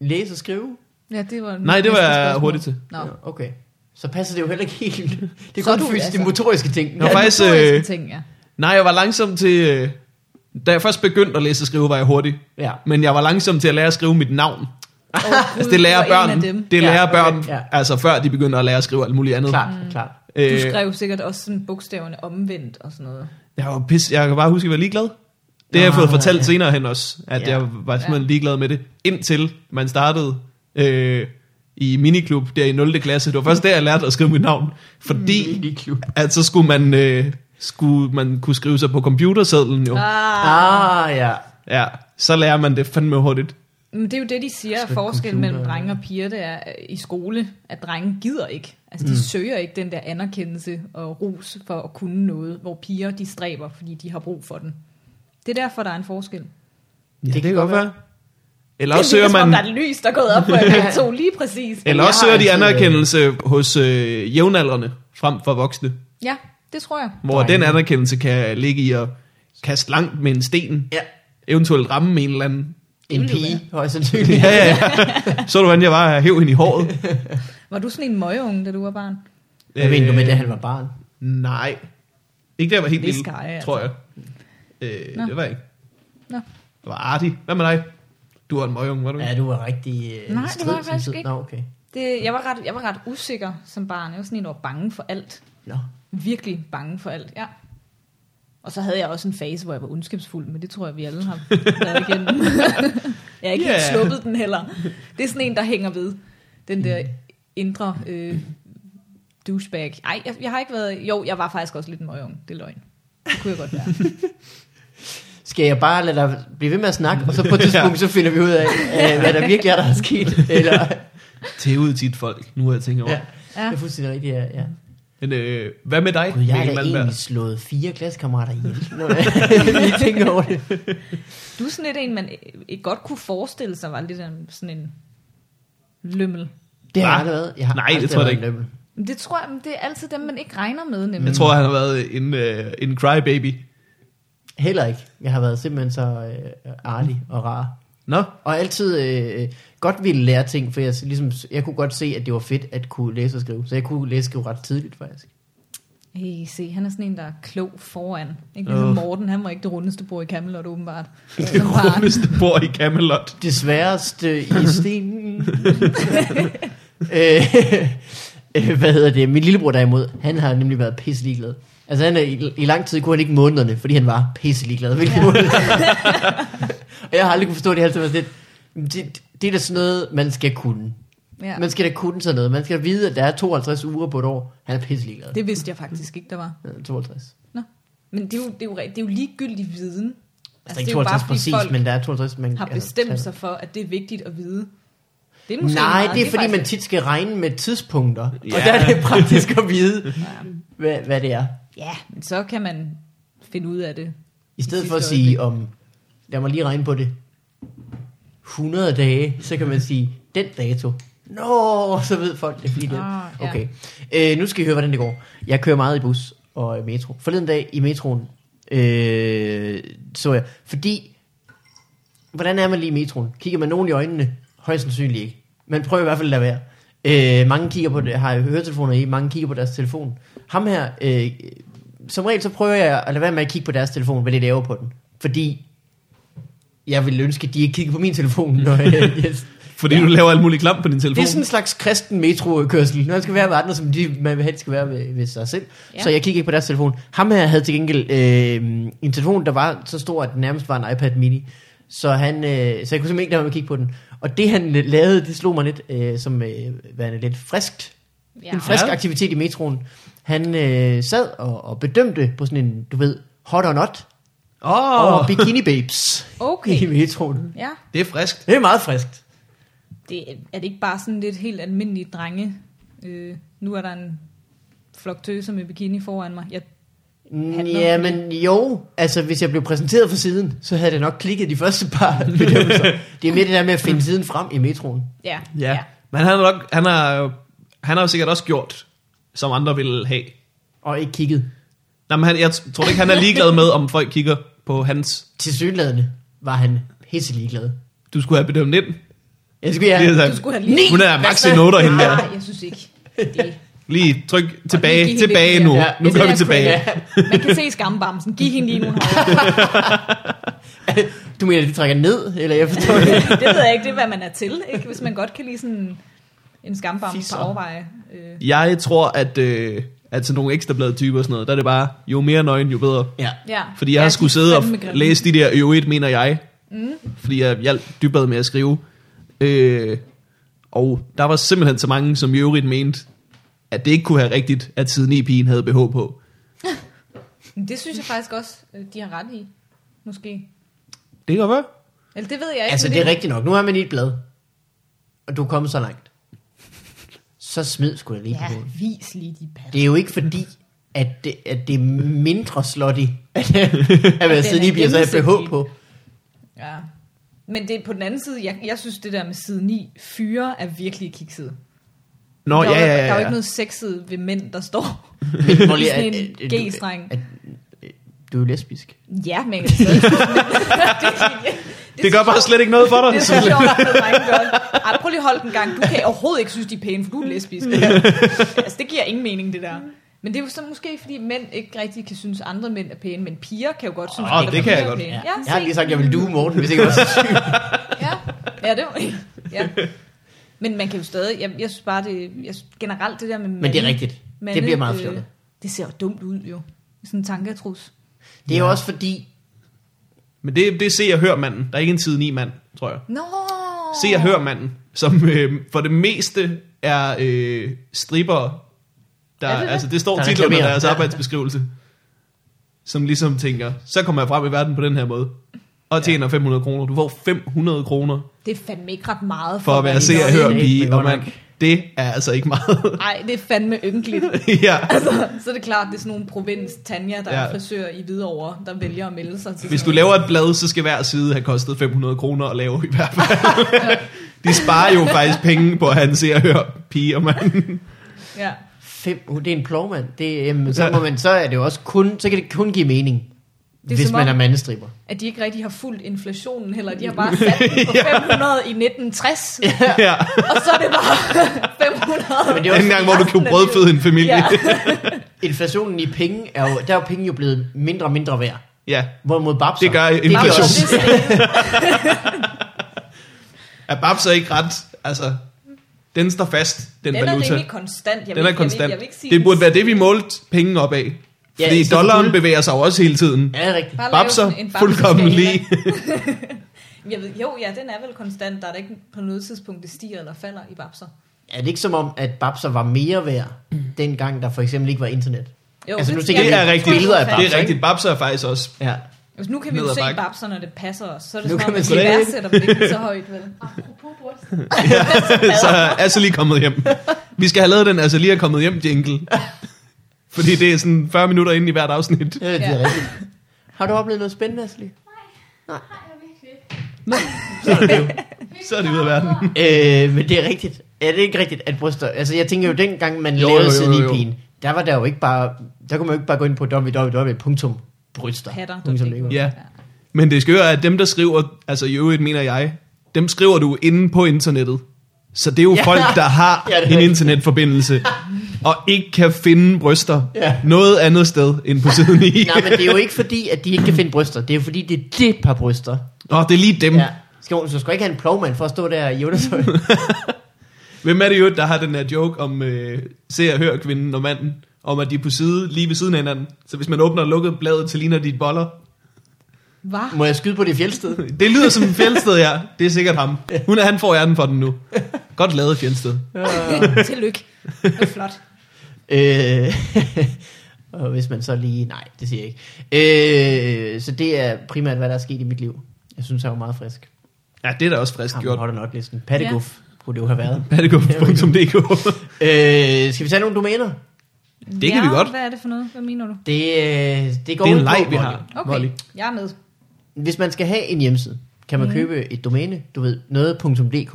Speaker 3: Læse og skrive?
Speaker 2: Ja, det var
Speaker 1: Nej, det var
Speaker 2: næste
Speaker 1: jeg
Speaker 2: spørgsmål.
Speaker 1: hurtig til.
Speaker 2: Nå.
Speaker 3: Ja, Okay. Så passer det jo heller ikke helt. Det er
Speaker 2: Så
Speaker 3: kun
Speaker 2: er du
Speaker 3: du, altså.
Speaker 2: altså-
Speaker 3: de motoriske ting.
Speaker 1: Nå,
Speaker 2: Ja,
Speaker 1: faktisk,
Speaker 2: det var
Speaker 1: øh,
Speaker 2: jeg sådan ting, ja.
Speaker 1: Nej, jeg var langsom til... øh, Da jeg først begyndte at læse og skrive, var jeg hurtig.
Speaker 3: Ja.
Speaker 1: Men jeg var langsom til at lære at skrive mit navn.
Speaker 2: Åh,
Speaker 1: Altså,
Speaker 2: Gud,
Speaker 1: det
Speaker 2: du
Speaker 1: lærer
Speaker 2: var en af
Speaker 1: børn.
Speaker 2: dem.
Speaker 1: Det
Speaker 3: Ja,
Speaker 1: lærer
Speaker 3: okay,
Speaker 1: børn,
Speaker 3: ja.
Speaker 1: altså før de begynder at lære at skrive alt muligt andet.
Speaker 3: Klart, klart.
Speaker 2: Du
Speaker 1: Øh,
Speaker 2: skrev sikkert også sådan bogstaverne omvendt og sådan noget.
Speaker 1: jeg var pis. Jeg kan bare huske, at jeg var ligeglad. Det har jeg
Speaker 3: Nå,
Speaker 1: fået fortalt
Speaker 3: ja.
Speaker 1: senere hen også, at
Speaker 3: Ja.
Speaker 1: ja. jeg var simpelthen ligeglad med det, indtil man startede øh, i miniklub der i 0. klasse. Det var først der, jeg lærte at skrive mit navn, fordi
Speaker 3: Lille klub.
Speaker 1: at så skulle man, øh, skulle man kunne skrive sig på computersedlen jo.
Speaker 2: Ah,
Speaker 3: Ah, ja.
Speaker 1: Ja, så lærer man det fandme hurtigt.
Speaker 2: men det er jo det, de siger, at
Speaker 3: Skriv
Speaker 2: forskellen
Speaker 3: computer,
Speaker 2: mellem
Speaker 3: ja.
Speaker 2: drenge og piger, det er øh, i skole, at drenge gider ikke. Altså, de
Speaker 1: Mm.
Speaker 2: søger ikke den der anerkendelse og ros for at kunne noget, hvor piger, de stræber, fordi de har brug for den. Det er derfor, der er en forskel.
Speaker 1: Ja, det,
Speaker 3: kan
Speaker 1: det kan
Speaker 3: godt
Speaker 1: godt være. Eller
Speaker 2: Det
Speaker 1: også søger
Speaker 2: virker, som om der er
Speaker 1: man...
Speaker 2: et lys, der er gået op på jer to lige præcis.
Speaker 1: Eller
Speaker 3: Jeg
Speaker 1: også
Speaker 3: har
Speaker 1: søger de
Speaker 3: altid, øh,
Speaker 1: anerkendelse hos øh, jævnaldrende frem for voksne.
Speaker 2: Ja, det tror jeg.
Speaker 1: Hvor
Speaker 3: Drenge.
Speaker 1: den anerkendelse kan ligge i at kaste langt med en sten,
Speaker 3: Ja.
Speaker 1: eventuelt ramme en eller anden.
Speaker 3: En
Speaker 2: ville jo
Speaker 3: pige, højst sandsynligt.
Speaker 1: Ja, ja, ja. Så du, hvordan jeg var her, hæv hende i håret.
Speaker 2: Var du sådan en møgeunge, da du var barn?
Speaker 3: Hvad mener du med,
Speaker 1: Øh,
Speaker 3: da han var barn?
Speaker 1: Nej. Ikke da jeg var helt
Speaker 2: Det
Speaker 1: lille,
Speaker 2: skal jeg, altså.
Speaker 1: tror jeg. Øh,
Speaker 2: Nå.
Speaker 1: det var jeg ikke.
Speaker 2: Nå.
Speaker 1: Det var artig. Hvad med dig? Du var en møgung, var du ikke?
Speaker 3: Ja, du var rigtig øh,
Speaker 2: Nej, det var
Speaker 3: strid
Speaker 2: jeg
Speaker 3: som
Speaker 2: faktisk
Speaker 3: tid.
Speaker 2: ikke.
Speaker 3: Nå, okay.
Speaker 2: Det, jeg, var ret, jeg var ret usikker som barn. Jeg var sådan en, der var bange for alt.
Speaker 3: Nå.
Speaker 2: Virkelig bange for alt, ja. Og så havde jeg også en fase, hvor jeg var ondskabsfuld, men det tror jeg, vi alle har været igennem. jeg er ikke yeah.
Speaker 1: Ja.
Speaker 2: helt sluppet den heller. Det er sådan en, der hænger ved. Den der indre øh, douchebag. Ej, jeg, jeg har ikke været... Jo, jeg var faktisk også lidt en møgeunge. Det er løgn. Det kunne jeg godt være.
Speaker 3: Skal jeg bare lade dig blive ved med at snakke, og så på et tidspunkt, så finder vi ud af, øh, hvad der virkelig er, der er sket? Eller,
Speaker 1: Tævede tit folk, nu har jeg tænkt over.
Speaker 3: ja.
Speaker 1: Ja.
Speaker 3: Det er fuldstændig rigtigt, ja. ja.
Speaker 1: Men øh, hvad med dig,
Speaker 3: Gud, jeg har
Speaker 1: Mikkel
Speaker 3: da
Speaker 1: Malmberg?
Speaker 3: egentlig slået fire klassekammerater ihjel, når jeg lige tænker over det.
Speaker 2: Du er sådan lidt en, man øh, ikke godt kunne forestille sig, var lidt en- sådan en lømmel.
Speaker 3: Det har jeg
Speaker 1: Hva?
Speaker 3: aldrig været. Jeg har
Speaker 1: Nej,
Speaker 3: aldrig
Speaker 1: det tror jeg
Speaker 3: været
Speaker 1: da
Speaker 3: en lømmel.
Speaker 2: Men Det tror jeg, men det er altid dem, man ikke regner med, nemlig.
Speaker 1: Jeg tror, han har været en, øh, en crybaby.
Speaker 3: Heller ikke. Jeg har været simpelthen så øh, artig og rar.
Speaker 1: Nå,
Speaker 3: Og altid øh, godt ville lære ting, for jeg, ligesom, jeg kunne godt se, at det var fedt at kunne læse og skrive. Så jeg kunne læse og skrive ret tidligt, faktisk.
Speaker 2: Hey, se, han er sådan en, der er klog foran. Ikke ligesom
Speaker 3: Øh.
Speaker 1: Åh.
Speaker 2: Morten, han var ikke det rundeste bord i Camelot, åbenbart.
Speaker 1: det
Speaker 2: Som barn.
Speaker 1: rundeste bor i Camelot.
Speaker 3: Det sværeste i stenen. øh, øh, hvad hedder det? Min lillebror derimod, han har nemlig været pisse ligeglad. Altså han er, i, i lang tid kunne han ikke månederne, fordi han var pisse ligeglad. Hvilke måneder? og jeg har aldrig kunne forstå det, jeg har altid været sådan lidt. Det, det er da sådan noget, man skal kunne.
Speaker 2: Ja.
Speaker 3: Ja. Man skal da kunne sådan noget. Man skal da vide, at der er 52 uger på et år. Han er pisse ligeglad.
Speaker 2: Det Altså, vidste jeg faktisk ikke, der var.
Speaker 3: Ja, Altså, 52.
Speaker 2: Nå. Men det er jo, det er jo, re- det er jo ligegyldig viden. Altså,
Speaker 3: Altså, det er ikke 52 præcis,
Speaker 2: folk
Speaker 3: men der er 52. Man,
Speaker 2: har
Speaker 3: altså,
Speaker 2: bestemt
Speaker 3: altså.
Speaker 2: sig for, at det er vigtigt at vide. Det er måske
Speaker 3: Nej,
Speaker 2: meget.
Speaker 3: det er fordi, man
Speaker 2: faktisk-
Speaker 3: tit skal regne med tidspunkter. Ja. Og
Speaker 1: Ja.
Speaker 3: der er det praktisk at vide, hvad, hvad det er.
Speaker 2: Ja, men så kan man finde ud af det.
Speaker 3: I stedet
Speaker 2: sidste
Speaker 3: for at sige om, lad mig lige regne på det, 100 dage, så kan man sige, den dato. Nå, så ved folk det, fordi det
Speaker 2: Ah, ja.
Speaker 3: Okay, øh, nu skal I høre, hvordan det går. Jeg kører meget i bus og øh, metro. Forleden dag i metroen, øh, så jeg, fordi, hvordan er man lige i metroen? Kigger man nogen i øjnene? Højst sandsynligt ikke. Man prøver i hvert fald at lade være. Øh, mange kigger på det, har høretelefoner i, mange kigger på deres telefon. Ham her, øh, som regel så prøver jeg at lade være med at kigge på deres telefon, hvad de laver på den. Fordi jeg ville ønske, at de ikke kiggede på min telefon, når jeg, jeg
Speaker 1: Fordi ja. du laver alt muligt klam på din telefon.
Speaker 3: det er sådan en slags kristen metrokørsel. Når man skal være med andre, som de, man vil helst skal være ved, ved sig selv. Ja.
Speaker 2: Ja.
Speaker 3: Så jeg kiggede ikke på deres telefon. Ham her havde til gengæld øh, en telefon, der var så stor, at den nærmest var en iPad mini. Så, han, øh, så jeg kunne simpelthen ikke lade være med at kigge på den. Og det han lavede, det slog mig lidt øh, som øh, værende lidt friskt.
Speaker 2: Ja.
Speaker 3: En frisk
Speaker 1: Ja.
Speaker 3: aktivitet i metroen. Han øh, sad og, og bedømte på sådan en, du ved, hot or not. Oh.
Speaker 1: Åh,
Speaker 3: Og
Speaker 1: oh,
Speaker 3: bikini babes
Speaker 2: Okay.
Speaker 3: i metroen.
Speaker 2: ja.
Speaker 1: det er friskt.
Speaker 3: Det er meget friskt.
Speaker 2: Det, er- er det ikke bare sådan lidt helt almindelige drenge? Øh, nu er der en flok tøser med bikini foran mig. Jeg handler
Speaker 3: Ja,
Speaker 2: om det.
Speaker 3: men jo. Altså, hvis jeg blev præsenteret for siden, så havde det nok klikket de første par bedømmelser. Det er mere det der med at finde siden frem i metroen.
Speaker 2: Ja,
Speaker 1: Ja. ja. Men han har, nok, han, har, jo- han har jo sikkert også gjort, som andre ville have.
Speaker 3: Og ikke kigget.
Speaker 1: Nej, men han, jeg t- tror ikke, han er ligeglad med, om folk kigger på hans...
Speaker 3: Til synlædende var han pisse ligeglad.
Speaker 1: Du skulle have bedømt 19.
Speaker 3: Jeg skulle, ja,
Speaker 1: Lige sådan.
Speaker 2: Du skulle have lige- Altså,
Speaker 1: Hun er
Speaker 3: Hvad
Speaker 1: max i
Speaker 3: så?
Speaker 1: noter, hende der.
Speaker 2: Nej, jeg synes ikke. Det.
Speaker 1: Lige tryk
Speaker 2: give
Speaker 1: tilbage,
Speaker 2: hende lidt
Speaker 1: tilbage
Speaker 2: mere.
Speaker 1: nu.
Speaker 3: Ja,
Speaker 1: Nu
Speaker 2: det
Speaker 1: går
Speaker 2: er
Speaker 1: vi tilbage.
Speaker 2: sgu ikke. Man kan se skambamsen. Giv hende lige nogle højere.
Speaker 3: du mener, det trækker ned? Eller jeg forstår det.
Speaker 2: Det ved jeg ikke, det er, hvad man er til, ikke? Hvis man godt kan lide sådan en skambams på
Speaker 3: Fisser.
Speaker 2: afveje. Øh,
Speaker 1: Jeg tror, at, øh, at sådan nogle ekstrabladet typer og sådan noget, der er det bare, jo mere nøgen, jo bedre.
Speaker 3: Ja.
Speaker 2: ja.
Speaker 1: Fordi jeg ja,
Speaker 2: ja,
Speaker 1: har
Speaker 2: de
Speaker 1: skulle
Speaker 2: er
Speaker 1: sidde og
Speaker 2: fandme
Speaker 1: f-
Speaker 2: grimme.
Speaker 1: læse de der øvrigt, mener jeg. Mm. Fordi jeg hjalp dybbad med at skrive. Øh, og der var simpelthen så mange, som i øvrigt mente, at det ikke kunne have rigtigt, at siden i pigen havde BH på.
Speaker 2: Men Det synes jeg faktisk også, øh, de har ret i. Måske.
Speaker 1: Det kan være.
Speaker 2: Eller det ved jeg ikke.
Speaker 3: Altså,
Speaker 2: men
Speaker 3: det er rigtigt nok. Nu er man i et blad. Og du er kommet så langt. Så smid sgu da lige ja.
Speaker 2: Ja, vis lige de patter.
Speaker 3: Det er jo ikke fordi, at det, at det er mindre slutty, at, at man sidder
Speaker 2: er
Speaker 3: lige bliver så et
Speaker 2: gennemsigtig.
Speaker 3: BH på.
Speaker 2: Ja. Men det er på den anden side, jeg, jeg synes det der med side 9, fyre er virkelig kikset.
Speaker 1: Nå,
Speaker 2: der,
Speaker 1: ja,
Speaker 2: er jo-
Speaker 1: ja, ja.
Speaker 2: der er jo ikke
Speaker 1: ja.
Speaker 2: noget sexet ved mænd, der står.
Speaker 3: Men prøv
Speaker 2: Sådan
Speaker 3: at-
Speaker 2: en
Speaker 3: at- at-
Speaker 2: G-streng.
Speaker 3: at- at- Du er jo lesbisk.
Speaker 2: Ja, men jeg kan stadig- det, det,
Speaker 1: Det gør bare slet ikke noget for dig.
Speaker 2: Det er så sjovt, at drenge gør det. Ej, prøv lige at holde den gang. Du kan overhovedet ikke synes, de er pæne, for du er lesbisk. altså, det giver ingen mening, det der. Men det er jo så måske, fordi mænd ikke rigtig kan synes, andre mænd er pæne, men piger kan jo godt synes,
Speaker 1: Åh,
Speaker 2: andre
Speaker 1: det kan
Speaker 2: piger
Speaker 1: jeg
Speaker 2: er
Speaker 1: godt.
Speaker 2: pæne.
Speaker 3: Ja.
Speaker 2: Ja,
Speaker 3: Jeg
Speaker 2: se.
Speaker 3: har lige sagt, at jeg vil du Morten, hvis ikke jeg var syg.
Speaker 2: Ja, ja det var ja. Men man kan jo stadig, jeg, jeg synes bare, det, jeg, synes- generelt det der med øh,
Speaker 3: Men det er rigtigt. Det bliver meget fjollet.
Speaker 2: det ser jo dumt ud jo. Sådan en tanketrus.
Speaker 3: Det er jo også fordi,
Speaker 1: Men det, det er se og hør manden. Der er ikke en side 9 mand, tror jeg.
Speaker 2: Nå!
Speaker 1: Se og hør manden, som øh, for det meste er øh, stripper. Der,
Speaker 2: Er
Speaker 1: er
Speaker 2: det
Speaker 1: det
Speaker 2: det?
Speaker 1: altså det står
Speaker 3: Der
Speaker 1: titlen under
Speaker 3: reklamerer.
Speaker 1: deres
Speaker 3: Ja.
Speaker 1: arbejdsbeskrivelse. Som ligesom tænker, så kommer jeg frem i verden på den her måde. Og tjener 500 kroner. Du får 500 kroner
Speaker 2: Det er fandme ikke ret meget
Speaker 1: for at være
Speaker 2: man
Speaker 1: se
Speaker 2: gør
Speaker 1: og
Speaker 2: det.
Speaker 1: hør
Speaker 3: det er
Speaker 1: pige.
Speaker 3: ikke
Speaker 1: Og man,
Speaker 3: godt nok.
Speaker 1: det er altså ikke meget.
Speaker 2: Ej, det er fandme ynkeligt.
Speaker 1: ja.
Speaker 2: altså, så er det klart, det er sådan nogle provins Tanja, der ja.
Speaker 1: Ja.
Speaker 2: er frisør i Hvidovre, der vælger at melde sig til
Speaker 1: Hvis du
Speaker 2: sådan
Speaker 1: laver et blad, så skal hver side have kostet 500 kroner at lave i hvert fald. De sparer jo faktisk penge på at han ser og hører pige og mand.
Speaker 2: noget. Ja.
Speaker 3: fem, uh, det er en plovmand, det, jamen, så, må man, så, er det jo også kun, så kan det kun give mening,
Speaker 2: er
Speaker 3: det hvis
Speaker 2: som
Speaker 3: man
Speaker 2: om-
Speaker 3: er mandestriber.
Speaker 2: At de ikke rigtig har fulgt inflationen heller. De har bare sat den på 500 i 1960,
Speaker 1: ja.
Speaker 2: og så er det bare 500.
Speaker 3: Men det er
Speaker 1: Den
Speaker 3: også,
Speaker 1: gang, hvor du kunne brødføde en familie.
Speaker 2: Ja.
Speaker 3: inflationen i penge, er jo, der er jo penge jo blevet mindre og mindre værd.
Speaker 1: ja.
Speaker 3: Hvorimod babser,
Speaker 1: Det gør
Speaker 2: Det er jo
Speaker 1: inflation.
Speaker 2: også det,
Speaker 1: Er babser ikke ret? Altså, den står fast, den,
Speaker 2: den er
Speaker 1: valuta.
Speaker 2: rimelig konstant. Jeg
Speaker 1: den
Speaker 2: vil,
Speaker 1: er
Speaker 2: ikke- Jeg vil,
Speaker 1: konstant.
Speaker 2: jeg vil ikke sige,
Speaker 1: det burde være det, vi målte penge op af.
Speaker 3: Ja,
Speaker 1: Fordi
Speaker 3: i stedet for
Speaker 1: dollaren
Speaker 3: guld.
Speaker 1: bevæger sig jo også hele tiden.
Speaker 3: Ja, det er rigtigt.
Speaker 2: Bare lave
Speaker 1: Babser,
Speaker 2: sådan en babseskala.
Speaker 1: fuldkommen lige.
Speaker 2: Jeg ved, jo, ja, den er vel konstant. Der er da ikke på noget tidspunkt, det stiger eller falder i babser.
Speaker 3: Er det ikke som om, at babser var mere værd, dengang der for eksempel ikke var internet?
Speaker 2: Jo,
Speaker 3: Altså, nu
Speaker 2: det-
Speaker 3: tænker
Speaker 2: jeg
Speaker 1: Det er
Speaker 2: tror,
Speaker 1: rigtigt.
Speaker 2: tror,
Speaker 3: Billeder af
Speaker 2: falder.
Speaker 1: Det
Speaker 3: babser,
Speaker 1: er rigtigt. Babser er faktisk også...
Speaker 3: Ja.
Speaker 2: Altså, nu kan vi
Speaker 1: Ned
Speaker 2: jo
Speaker 1: ad
Speaker 2: se
Speaker 1: bakke.
Speaker 2: babser, når det passer os. Så er det
Speaker 3: Nu
Speaker 2: nu
Speaker 3: kan
Speaker 2: sådan,
Speaker 3: man
Speaker 2: at
Speaker 3: sgu
Speaker 2: vi
Speaker 3: da ikke-
Speaker 2: værdsætter dem ikke så højt, vel?
Speaker 1: Så er Assel lige kommet hjem. Vi skal have lavet den Assel lige er kommet hjem jingle. Fordi det er sådan 40 minutter inde i hvert afsnit.
Speaker 3: Ja, det er
Speaker 2: Ja.
Speaker 3: rigtigt. Har du oplevet noget spændende, Asli?
Speaker 5: Nej, jeg virkelig ikke.
Speaker 1: Så er det ud af verden.
Speaker 3: Øh, men det er rigtigt. Er det ikke rigtigt, at bryster... Altså, jeg tænker jo, dengang man
Speaker 1: Jo,
Speaker 3: jo,
Speaker 1: jo, jo,
Speaker 3: lavede siden
Speaker 1: jo.
Speaker 3: i pigen, der var der jo ikke bare... Der kunne man jo ikke bare gå ind på www.bryster.
Speaker 2: Patter.
Speaker 3: Punktum dk.
Speaker 1: Ja. Men det skøre er, at dem, der skriver, altså i øvrigt mener jeg, dem skriver du inde på internettet. Så det er jo
Speaker 3: Ja.
Speaker 1: folk, der har
Speaker 3: Ja, det er
Speaker 1: ja, en
Speaker 3: rigtigt.
Speaker 1: internetforbindelse, og ikke kan finde bryster
Speaker 3: Ja.
Speaker 1: noget andet sted end på siden i.
Speaker 3: Nej, men det er jo ikke fordi, at de ikke kan finde bryster. Det er jo fordi, det er det par bryster.
Speaker 1: Nå, det er lige dem. Ja.
Speaker 3: Ja. Skal, hun- så skal du ikke have en plovmand for at stå der i undertøj.
Speaker 1: Hvem er det jo, der har den her joke om øh, se og hør kvinden og manden, om at de er på side, lige ved siden af hinanden. Så hvis man åbner og lukker bladet, så ligner de et boller.
Speaker 2: Hvad?
Speaker 3: Må jeg skyde på det fjeldsted?
Speaker 1: Det lyder som en fjeldsted, ja. Det er sikkert ham. Hun er, han får hjernen for den nu. Godt lavet fjeldsted.
Speaker 2: Tillykke. Det er flot.
Speaker 3: Øh, og hvis man så lige... Nej, det siger jeg ikke. Øh, så det er primært, hvad der er sket i mit liv. Jeg synes, jeg var meget frisk.
Speaker 1: Ja, det er da også frisk
Speaker 3: Jamen,
Speaker 1: gjort.
Speaker 3: hold da nok listen. Patteguf ja. kunne det jo have været.
Speaker 1: Pattegum.dk
Speaker 3: Øh, skal vi tage nogle domæner?
Speaker 1: Det kan vi godt.
Speaker 2: Hvad er det for noget? Hvad mener du?
Speaker 3: Det, øh, det går
Speaker 1: Det er
Speaker 3: ud
Speaker 1: en
Speaker 3: på,
Speaker 1: leg, vi
Speaker 3: Molly.
Speaker 1: har.
Speaker 2: Okay,
Speaker 1: Molly.
Speaker 2: jeg er med.
Speaker 3: Hvis man skal have en hjemmeside, kan man
Speaker 2: Mhm.
Speaker 3: købe et domæne, du ved, noget.dk.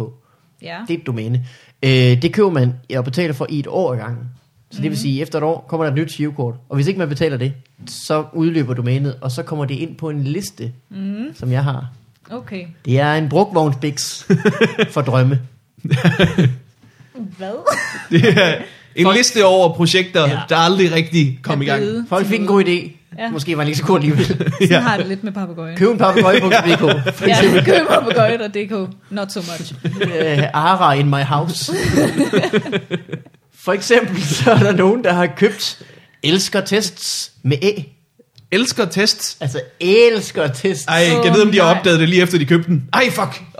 Speaker 2: Ja.
Speaker 3: Det er et domæne. Øh, det køber man og betaler for i et år ad gangen. Så det vil sige, efter et år kommer der et nyt girokort. Og hvis ikke man betaler det, så udløber domænet, og så kommer det ind på en liste, mm. som jeg har.
Speaker 2: Okay.
Speaker 3: Det er en brugvognsbiks for drømme.
Speaker 2: Hvad?
Speaker 1: Det er en
Speaker 3: Folk-
Speaker 1: liste over projekter,
Speaker 3: Ja.
Speaker 1: der aldrig rigtig kom
Speaker 2: Er
Speaker 1: i gang.
Speaker 2: blevet
Speaker 3: Folk
Speaker 2: til
Speaker 3: fik en
Speaker 2: noget.
Speaker 3: god idé.
Speaker 2: Ja.
Speaker 3: Ja. Måske var det ikke så god alligevel.
Speaker 2: Sådan ja. har jeg det lidt med papegøjen.
Speaker 3: Køb en papagøj.dk.
Speaker 2: Ja, køb papegøjen og DK. Not so much.
Speaker 3: øh, Ara in my house. For eksempel så er der nogen, der har købt elsker tests med æ.
Speaker 1: Elsker tests.
Speaker 3: Altså elsker tests.
Speaker 1: Ej, kan jeg
Speaker 2: Åh,
Speaker 1: vide, om de har
Speaker 2: nej.
Speaker 1: opdaget det lige efter, de købte den? Ej, fuck. Åh,
Speaker 3: Ja.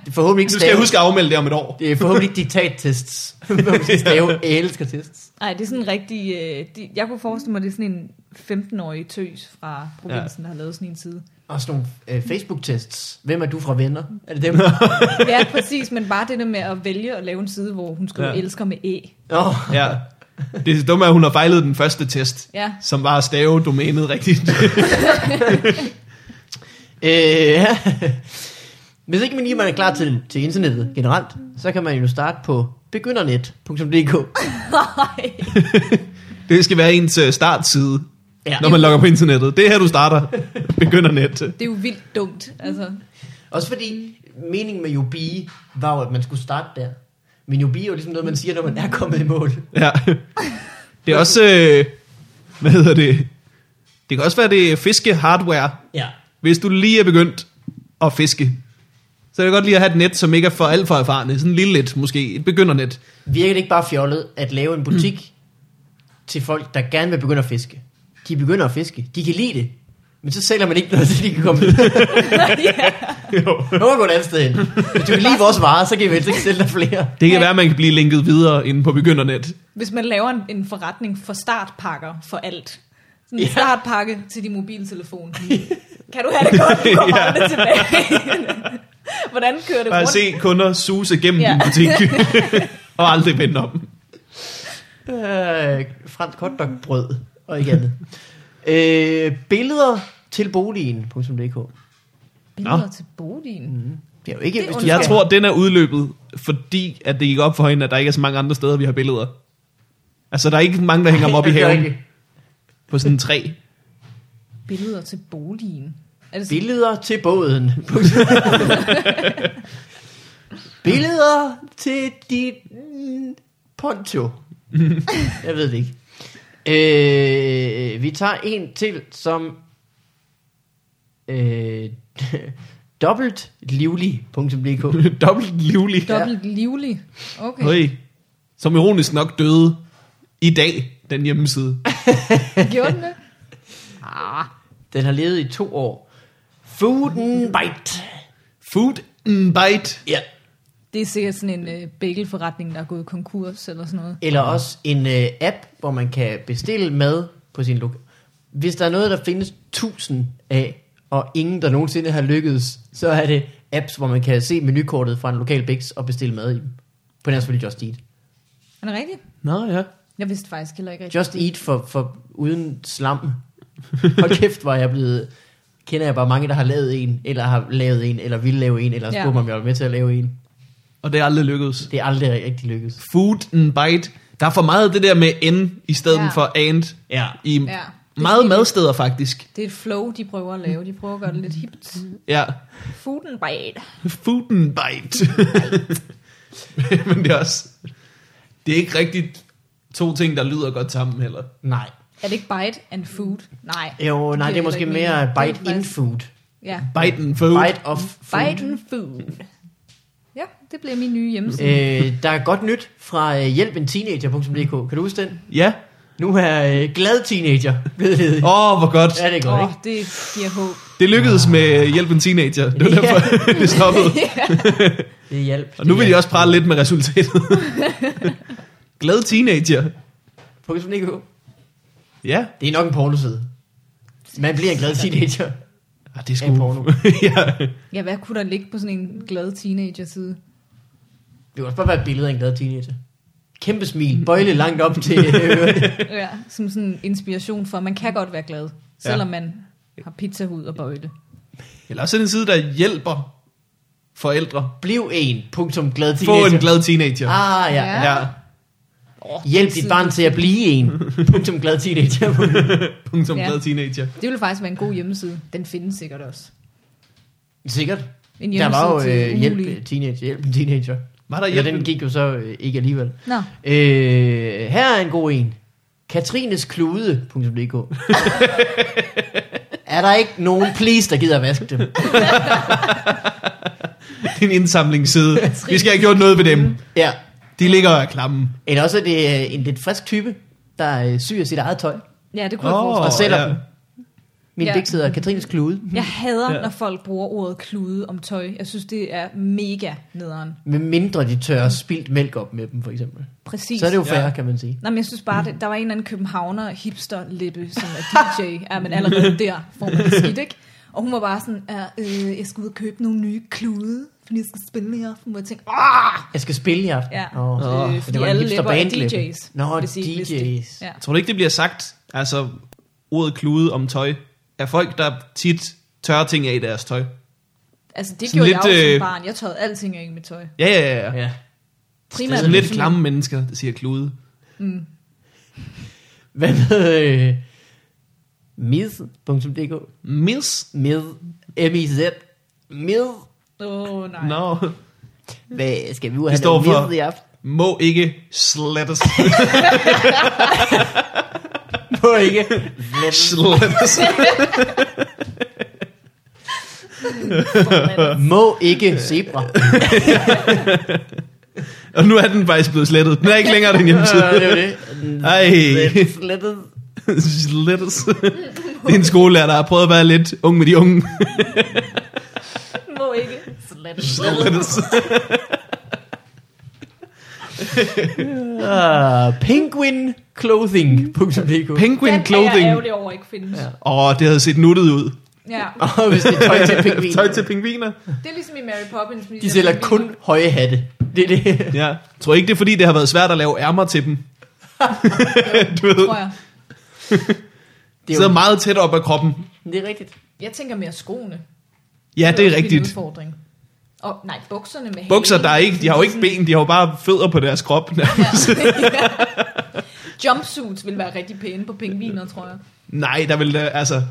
Speaker 3: Det er forhåbentlig ikke
Speaker 1: nu skal jeg
Speaker 3: stavet-
Speaker 1: huske at afmelde det om et år.
Speaker 3: Det er forhåbentlig ikke diktat tests. Man skal stave elsker tests.
Speaker 2: Nej, det er sådan en rigtig... Øh, de, jeg kunne forestille mig, det er sådan en 15-årig tøs fra provinsen, ja. der har lavet sådan en side.
Speaker 3: Og sådan nogle øh, Facebook-tests. Hvem er du fra venner? Er det dem?
Speaker 2: Ja, præcis, men bare det der med at vælge at lave en side, hvor hun skriver
Speaker 1: Ja.
Speaker 2: ja. elsker med E.
Speaker 3: Oh.
Speaker 1: Ja. Det er dumme, at hun har fejlet den første test,
Speaker 2: Ja.
Speaker 1: som var at stave domænet rigtigt.
Speaker 3: Øh, ja. Hvis ikke man lige man er klar til, til internettet generelt, så kan man jo starte på begyndernet.dk.
Speaker 2: Nej.
Speaker 1: Det skal være ens øh, startside,
Speaker 3: Ja.
Speaker 1: når man logger på internettet. Det er her, du starter. Begynder net.
Speaker 2: Det er jo vildt dumt, altså.
Speaker 3: Også fordi meningen med Yubi var jo, at man skulle starte der. Men Yubi er jo ligesom noget, man siger, når man er kommet i mål.
Speaker 1: Ja. Det er også... Øh, hvad hedder det? Det kan også være, det er fiskehardware.
Speaker 3: Ja.
Speaker 1: Hvis du lige er begyndt at fiske, så er det godt lige at have et net, som ikke er for alt for erfarne. Sådan lille lidt, måske. Et begyndernet.
Speaker 3: Virker det ikke bare fjollet at lave en butik til folk, der gerne vil begynde at fiske? De begynder at fiske. De kan lide det. Men så sælger man ikke noget, så de kan komme videre.
Speaker 1: Jo.
Speaker 3: Nu må du gå et andet sted hen. Hvis du kan lide vores varer, så kan vi helst ikke sælge dig flere.
Speaker 1: Det kan være, at man kan blive linket videre inde på begyndernet.
Speaker 2: Hvis man laver en, en forretning for startpakker for alt. Sådan en
Speaker 3: Ja.
Speaker 2: ja. startpakke til din mobiltelefon. kan du have det godt? Du kommer
Speaker 1: Ja.
Speaker 2: ja. aldrig tilbage. Hvordan kører det
Speaker 1: Bare
Speaker 2: rundt?
Speaker 1: se kunder suse gennem ja.
Speaker 2: Ja.
Speaker 1: din butik. og aldrig vende om.
Speaker 3: Øh, fransk hotdogbrød og ikke andet. øh, billeder til boligen.dk
Speaker 2: Billeder
Speaker 1: Nå. Mhm.
Speaker 2: til boligen.
Speaker 3: Det er jo ikke,
Speaker 2: Det er
Speaker 3: hvis du
Speaker 1: Jeg
Speaker 3: skal-
Speaker 1: tror, den er udløbet, fordi at det gik op for hende, at der ikke er så mange andre steder, vi har billeder. Altså, der er ikke mange, der hænger dem op i
Speaker 3: Det er
Speaker 1: haven
Speaker 3: rigtigt.
Speaker 1: på sådan en træ.
Speaker 2: Billeder til boligen. Er det sådan,
Speaker 3: Billeder til båden. Billeder til dit mm, poncho. Jeg ved det ikke. Øh, vi tager en til, som øh, dobbeltlivlig.dk
Speaker 1: Dobbelt livlig.
Speaker 2: dobbelt livlig? Okay.
Speaker 1: Høj. Som ironisk nok døde i dag, den hjemmeside.
Speaker 2: Gjorde den det?
Speaker 3: Den har levet i to år. Food and Bite.
Speaker 1: Food and Bite.
Speaker 3: Ja.
Speaker 2: Det er sikkert sådan en øh, bagelforretning, der er gået konkurs eller sådan noget.
Speaker 3: Eller også en øh, app, hvor man kan bestille mad på sin lok. Hvis der er noget, der findes tusind af, og ingen, der nogensinde har lykkedes, så er det apps, hvor man kan se menukortet fra en lokal biks og bestille mad i dem. På den er selvfølgelig Just Eat.
Speaker 2: Er det rigtigt?
Speaker 1: Nå ja.
Speaker 2: Jeg vidste faktisk heller ikke rigtigt.
Speaker 3: Just Eat for, for uden slam. Hold kæft, var jeg blevet... Kender jeg bare mange, der har lavet en, eller har lavet en, eller vil lave en, eller
Speaker 2: Ja.
Speaker 3: spurgt mig, om jeg var med til at lave en.
Speaker 1: Og det er aldrig lykkedes.
Speaker 3: Det er aldrig rigtig lykkedes.
Speaker 1: Food and Bite. Der er for meget af det der med N i stedet
Speaker 2: Ja.
Speaker 1: ja. for and.
Speaker 3: Ja.
Speaker 1: I
Speaker 2: Ja.
Speaker 1: meget madsteder faktisk.
Speaker 2: Det er et flow, de prøver at lave. De prøver at gøre det lidt hipt.
Speaker 1: Ja.
Speaker 2: Food and bite.
Speaker 1: Food and bite. Men det er også... Det er ikke rigtigt to ting, der lyder godt sammen heller.
Speaker 3: Nej.
Speaker 2: Er det ikke bite and food? Nej.
Speaker 3: Jo, nej, det er
Speaker 2: giver
Speaker 3: måske
Speaker 2: ikke
Speaker 3: mere
Speaker 2: mening. Det er
Speaker 3: bite in
Speaker 2: faktisk-
Speaker 3: food.
Speaker 2: Ja,
Speaker 1: Bite and food.
Speaker 3: Bite of food.
Speaker 2: bite and food. Ja, det bliver min nye hjemmeside.
Speaker 3: Øh, der er godt nyt fra øh, hjælpenteenager.dk. Kan du huske den?
Speaker 1: Ja.
Speaker 3: Nu er øh, glad teenager blevet ledig.
Speaker 1: Åh, oh, hvor godt.
Speaker 3: Ja, det er
Speaker 2: Åh,
Speaker 3: godt,
Speaker 2: oh,
Speaker 3: ikke?
Speaker 2: det giver håb.
Speaker 1: Det lykkedes med Hjælp en Teenager. Det var
Speaker 3: Ja.
Speaker 1: derfor, det stoppede.
Speaker 3: Det er hjælp.
Speaker 1: Og nu vil de også prale lidt med resultatet. Glad teenager.
Speaker 3: .dk.
Speaker 1: Ja.
Speaker 3: Det er nok en pornoside. Man bliver en glad teenager.
Speaker 1: Ah, det er
Speaker 3: Af
Speaker 1: sgu...
Speaker 3: porno.
Speaker 1: ja.
Speaker 2: Ja, hvad kunne der ligge på sådan en glad teenager-side?
Speaker 3: Det kan også bare være et billede af en glad teenager. kæmpe smil, bøjle langt op til øh, ørerne.
Speaker 2: ja, som sådan en inspiration for, at man kan godt være glad, selvom man har pizzahud og bøjle.
Speaker 1: Eller også er det en side, der hjælper forældre.
Speaker 3: Bliv en, punktum, glad teenager.
Speaker 1: Få en glad teenager.
Speaker 3: Ah, ja.
Speaker 2: Ja.
Speaker 3: ja.
Speaker 1: Ja,
Speaker 2: Oh,
Speaker 3: Hjælp dit barn til at blive en, punktum, glad teenager.
Speaker 1: punktum
Speaker 2: Ja.
Speaker 1: glad teenager.
Speaker 2: Det ville faktisk være en god hjemmeside. Den findes sikkert også.
Speaker 3: Sikkert.
Speaker 2: En
Speaker 3: Der
Speaker 2: hjemmeside
Speaker 3: var jo
Speaker 2: til
Speaker 3: øh, hjælp,
Speaker 2: umulige.
Speaker 3: teenager, hjælp en teenager.
Speaker 1: Var der
Speaker 3: Eller
Speaker 1: hjælp?
Speaker 3: den gik jo så øh, ikke alligevel.
Speaker 2: Nå,
Speaker 3: Øh, her er en god en. Katrinesklude.dk Er der ikke nogen please, der gider at vaske dem?
Speaker 1: Det er en indsamlingsside. Vi skal have gjort noget ved dem.
Speaker 3: Ja.
Speaker 1: De ligger og er klamme.
Speaker 3: Eller også er det øh, en lidt frisk type, der øh, syr sit eget tøj.
Speaker 2: ja, det kunne oh. jeg
Speaker 1: Åh,
Speaker 2: forestille
Speaker 3: Og sælger
Speaker 1: ja.
Speaker 3: dem. Min
Speaker 2: Ja.
Speaker 3: ja. digt hedder Katrines Klude.
Speaker 2: mig. Jeg hader,
Speaker 1: Ja.
Speaker 2: når folk bruger ordet klude om tøj. Jeg synes, det er mega nederen.
Speaker 3: Med mindre de tør spildt mælk op med dem, for eksempel.
Speaker 2: Præcis.
Speaker 3: Så er det jo
Speaker 1: Ja.
Speaker 3: færre, ja. kan man sige.
Speaker 2: Nej, men jeg synes bare, det, der var en eller anden københavner hipster lippe, som er DJ. ja, men allerede der får man det skidt, ikke? Og hun var bare sådan, ja, øh, jeg skal ud og købe nogle nye klude, fordi jeg skal spille i aften. Hvor jeg tænkte, ah!
Speaker 3: Jeg skal spille i aften.
Speaker 2: Ja.
Speaker 3: Åh.
Speaker 1: Åh,
Speaker 2: øh,
Speaker 1: det
Speaker 2: fordi
Speaker 3: var en
Speaker 2: alle
Speaker 3: hipster
Speaker 2: læpper er
Speaker 3: bandlæppe.
Speaker 2: DJ's.
Speaker 3: Nå,
Speaker 2: hvis I ikke vidste det.
Speaker 3: DJ's.
Speaker 2: Ja.
Speaker 1: Tror du ikke, det bliver sagt? Altså, ordet klude om tøj er folk, der tit tørrer ting af i deres tøj.
Speaker 2: Altså, det
Speaker 1: Sådan
Speaker 2: gjorde
Speaker 1: lidt,
Speaker 2: jeg også
Speaker 1: øh,
Speaker 2: som barn. Jeg tørrede alting af i mit tøj.
Speaker 1: Ja, ja, ja. ja.
Speaker 3: ja.
Speaker 2: Primært
Speaker 1: Sådan lidt
Speaker 2: fordi-
Speaker 1: klamme mennesker, der siger klude.
Speaker 3: Hvad med øh, Miz.dk?
Speaker 1: Miss?
Speaker 3: Med M-I-Z. Med.
Speaker 2: Åh, oh, nej. No.
Speaker 1: Nå. No.
Speaker 3: Hvad skal vi ud
Speaker 1: Det står
Speaker 3: noget
Speaker 1: for-
Speaker 3: med i aften?
Speaker 1: Må ikke slettes.
Speaker 3: Må ikke.
Speaker 1: slettes.
Speaker 3: Må ikke zebra.
Speaker 1: Og nu er den faktisk blevet slettet. Den er ikke længere den hjemmeside.
Speaker 3: det er jo det.
Speaker 1: Ej.
Speaker 3: Slet- Slettet.
Speaker 1: slettes. Det er en skolelærer, der har prøvet at være lidt ung med de unge.
Speaker 2: Må ikke. Slet.
Speaker 1: slettes.
Speaker 3: Ah, Penguinclothing.dk
Speaker 1: Penguin clothing.
Speaker 2: Den er jeg ærgerlig over at ikke findes. Ja.
Speaker 1: Åh, oh, det havde set nuttet ud.
Speaker 2: ja.
Speaker 3: Og hvis det er tøj til pingvin.
Speaker 1: Tøj til pingviner.
Speaker 2: Det er ligesom i Mary Poppins. men
Speaker 3: De
Speaker 2: der
Speaker 3: sælger
Speaker 2: pingviner.
Speaker 3: kun høje hatte. Det er det.
Speaker 1: Ja. Jeg tror ikke, det er fordi, det har været svært at lave ærmer til dem. du ved,
Speaker 2: Tror jeg.
Speaker 3: Det
Speaker 1: de
Speaker 3: er,
Speaker 1: sidder
Speaker 3: jo,
Speaker 1: meget tæt op ad kroppen.
Speaker 3: det er rigtigt.
Speaker 2: Jeg tænker mere skoene.
Speaker 1: Ja, det er
Speaker 2: også
Speaker 1: rigtigt.
Speaker 2: En udfordring. Og nej, bukserne med
Speaker 1: Bukser,
Speaker 2: halen.
Speaker 1: der er ikke, de har jo ikke ben, de har jo bare fødder på deres krop.
Speaker 2: Jumpsuits vil være rigtig pæne på pingviner, tror jeg.
Speaker 1: Nej, der vil da, altså,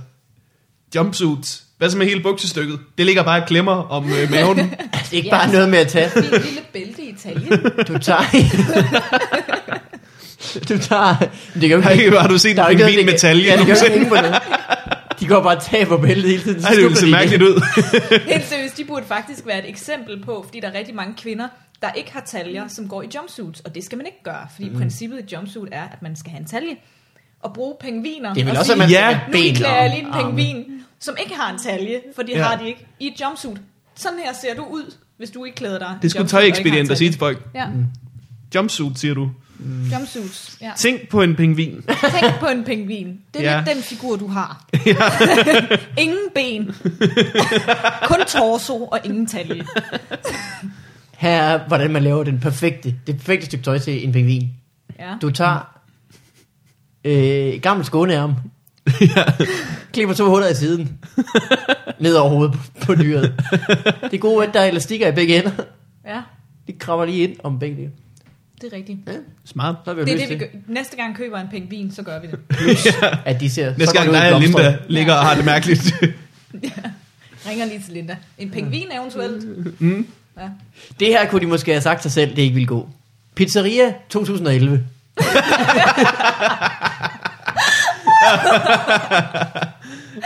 Speaker 1: jumpsuits. Hvad så med hele buksestykket? Det ligger bare og klemmer om øh, maven.
Speaker 3: Altså, det er ikke
Speaker 2: Ja.
Speaker 3: bare noget med at tage.
Speaker 2: Fint lille bælte i Italien.
Speaker 3: Du tager... du tager... Men Det kan jo ikke
Speaker 1: Hey, har du set
Speaker 3: Der er
Speaker 1: en
Speaker 3: jo ikke noget,
Speaker 1: pingvin med talje?
Speaker 3: det kan- Ja,
Speaker 1: Nej,
Speaker 3: det gør ikke hænge på noget. De går bare og taber bæltet hele tiden. så
Speaker 1: det ville
Speaker 3: skubber
Speaker 1: se
Speaker 3: de det.
Speaker 1: mærkeligt ud.
Speaker 2: Helt seriøst, de burde faktisk være et eksempel på, fordi der er rigtig mange kvinder, der ikke har taljer, som går i jumpsuits, og det skal man ikke gøre, fordi mm. princippet i jumpsuit er, at man skal have en talje. Og bruge pingviner
Speaker 3: Det er vel
Speaker 2: og
Speaker 3: også, at man
Speaker 1: sige,
Speaker 3: skal
Speaker 1: ja,
Speaker 3: have
Speaker 2: nu
Speaker 3: ben
Speaker 2: klæder jeg lige en
Speaker 3: og arme.
Speaker 2: pingvin, som ikke har en talje, for det
Speaker 1: Ja.
Speaker 2: ja. har de ikke, i et jumpsuit. Sådan her ser du ud, hvis du ikke klæder dig. i
Speaker 1: Det skulle
Speaker 2: jumpsuit og ikke har en
Speaker 1: tøjekspedient at sige Mm.
Speaker 2: talje.
Speaker 1: til folk.
Speaker 2: Ja,
Speaker 1: Jumpsuit, siger du.
Speaker 2: jumpsuits. Ja.
Speaker 1: Tænk på en pingvin.
Speaker 2: Tænk på en pingvin. Det er
Speaker 1: Ja.
Speaker 2: ja. lidt den figur, du har. ingen ben. Kun torso og ingen talje.
Speaker 3: Her er, hvordan man laver den perfekte, det perfekte stykke tøj til en pingvin.
Speaker 2: Ja.
Speaker 3: Du tager øh, gammel skånearm, klipper to huller i siden, ned over hovedet på, på dyret. Det gode er, at der er elastikker i begge ender.
Speaker 2: ja.
Speaker 3: De krammer lige ind om begge dele.
Speaker 2: Det er rigtigt.
Speaker 1: Smart.
Speaker 3: Så er vi jo
Speaker 2: Det er
Speaker 3: løst
Speaker 2: det, vi
Speaker 3: til,
Speaker 2: gør. Næste gang køber en pingvin, så gør vi det.
Speaker 3: at de ser
Speaker 1: Næste
Speaker 3: så
Speaker 1: gang
Speaker 3: godt ud
Speaker 1: dig og
Speaker 3: i blomstret.
Speaker 1: Linda ligger og har det mærkeligt.
Speaker 2: Ringer lige til Linda. En pingvin eventuelt. Ja.
Speaker 3: Det her kunne de måske have sagt sig selv, det ikke ville gå. Pizzeria 2011.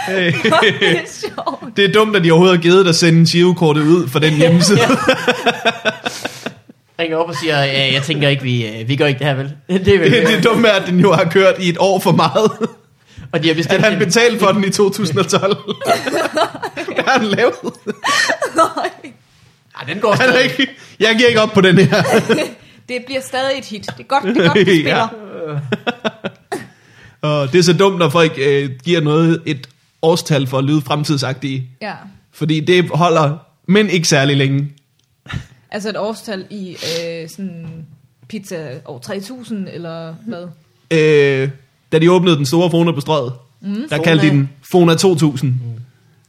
Speaker 1: Hey.
Speaker 2: det er sjovt.
Speaker 1: Det er dumt, at de overhovedet har givet dig at sende girokortet ud for den hjemmeside.
Speaker 3: ringer op og siger, ja, jeg tænker ikke, vi, øh, vi gør ikke det her, vel? Det er vel øh,
Speaker 1: Det, det dumme er, at den jo har kørt i et år for meget.
Speaker 3: Og de har
Speaker 1: At
Speaker 3: bestemt
Speaker 1: han
Speaker 3: en,
Speaker 1: betalte for den i 2012. Hvad har han lavet?
Speaker 3: ah, den går
Speaker 1: Han er
Speaker 3: stadig.
Speaker 1: ikke, jeg giver ikke op på den her.
Speaker 2: Det bliver stadig et hit. Det er godt, det er godt vi spiller.
Speaker 1: Og det er så dumt, når folk øh, giver noget et årstal for at lyde fremtidsagtige.
Speaker 2: Ja. ja.
Speaker 1: Fordi det holder, men ikke særlig længe.
Speaker 2: Altså et årstal i øh, sådan pizza over 3000, eller hvad?
Speaker 1: Øh, da de åbnede den store Fona på strøget, mm. der kaldte de den Fona 2000. Mm.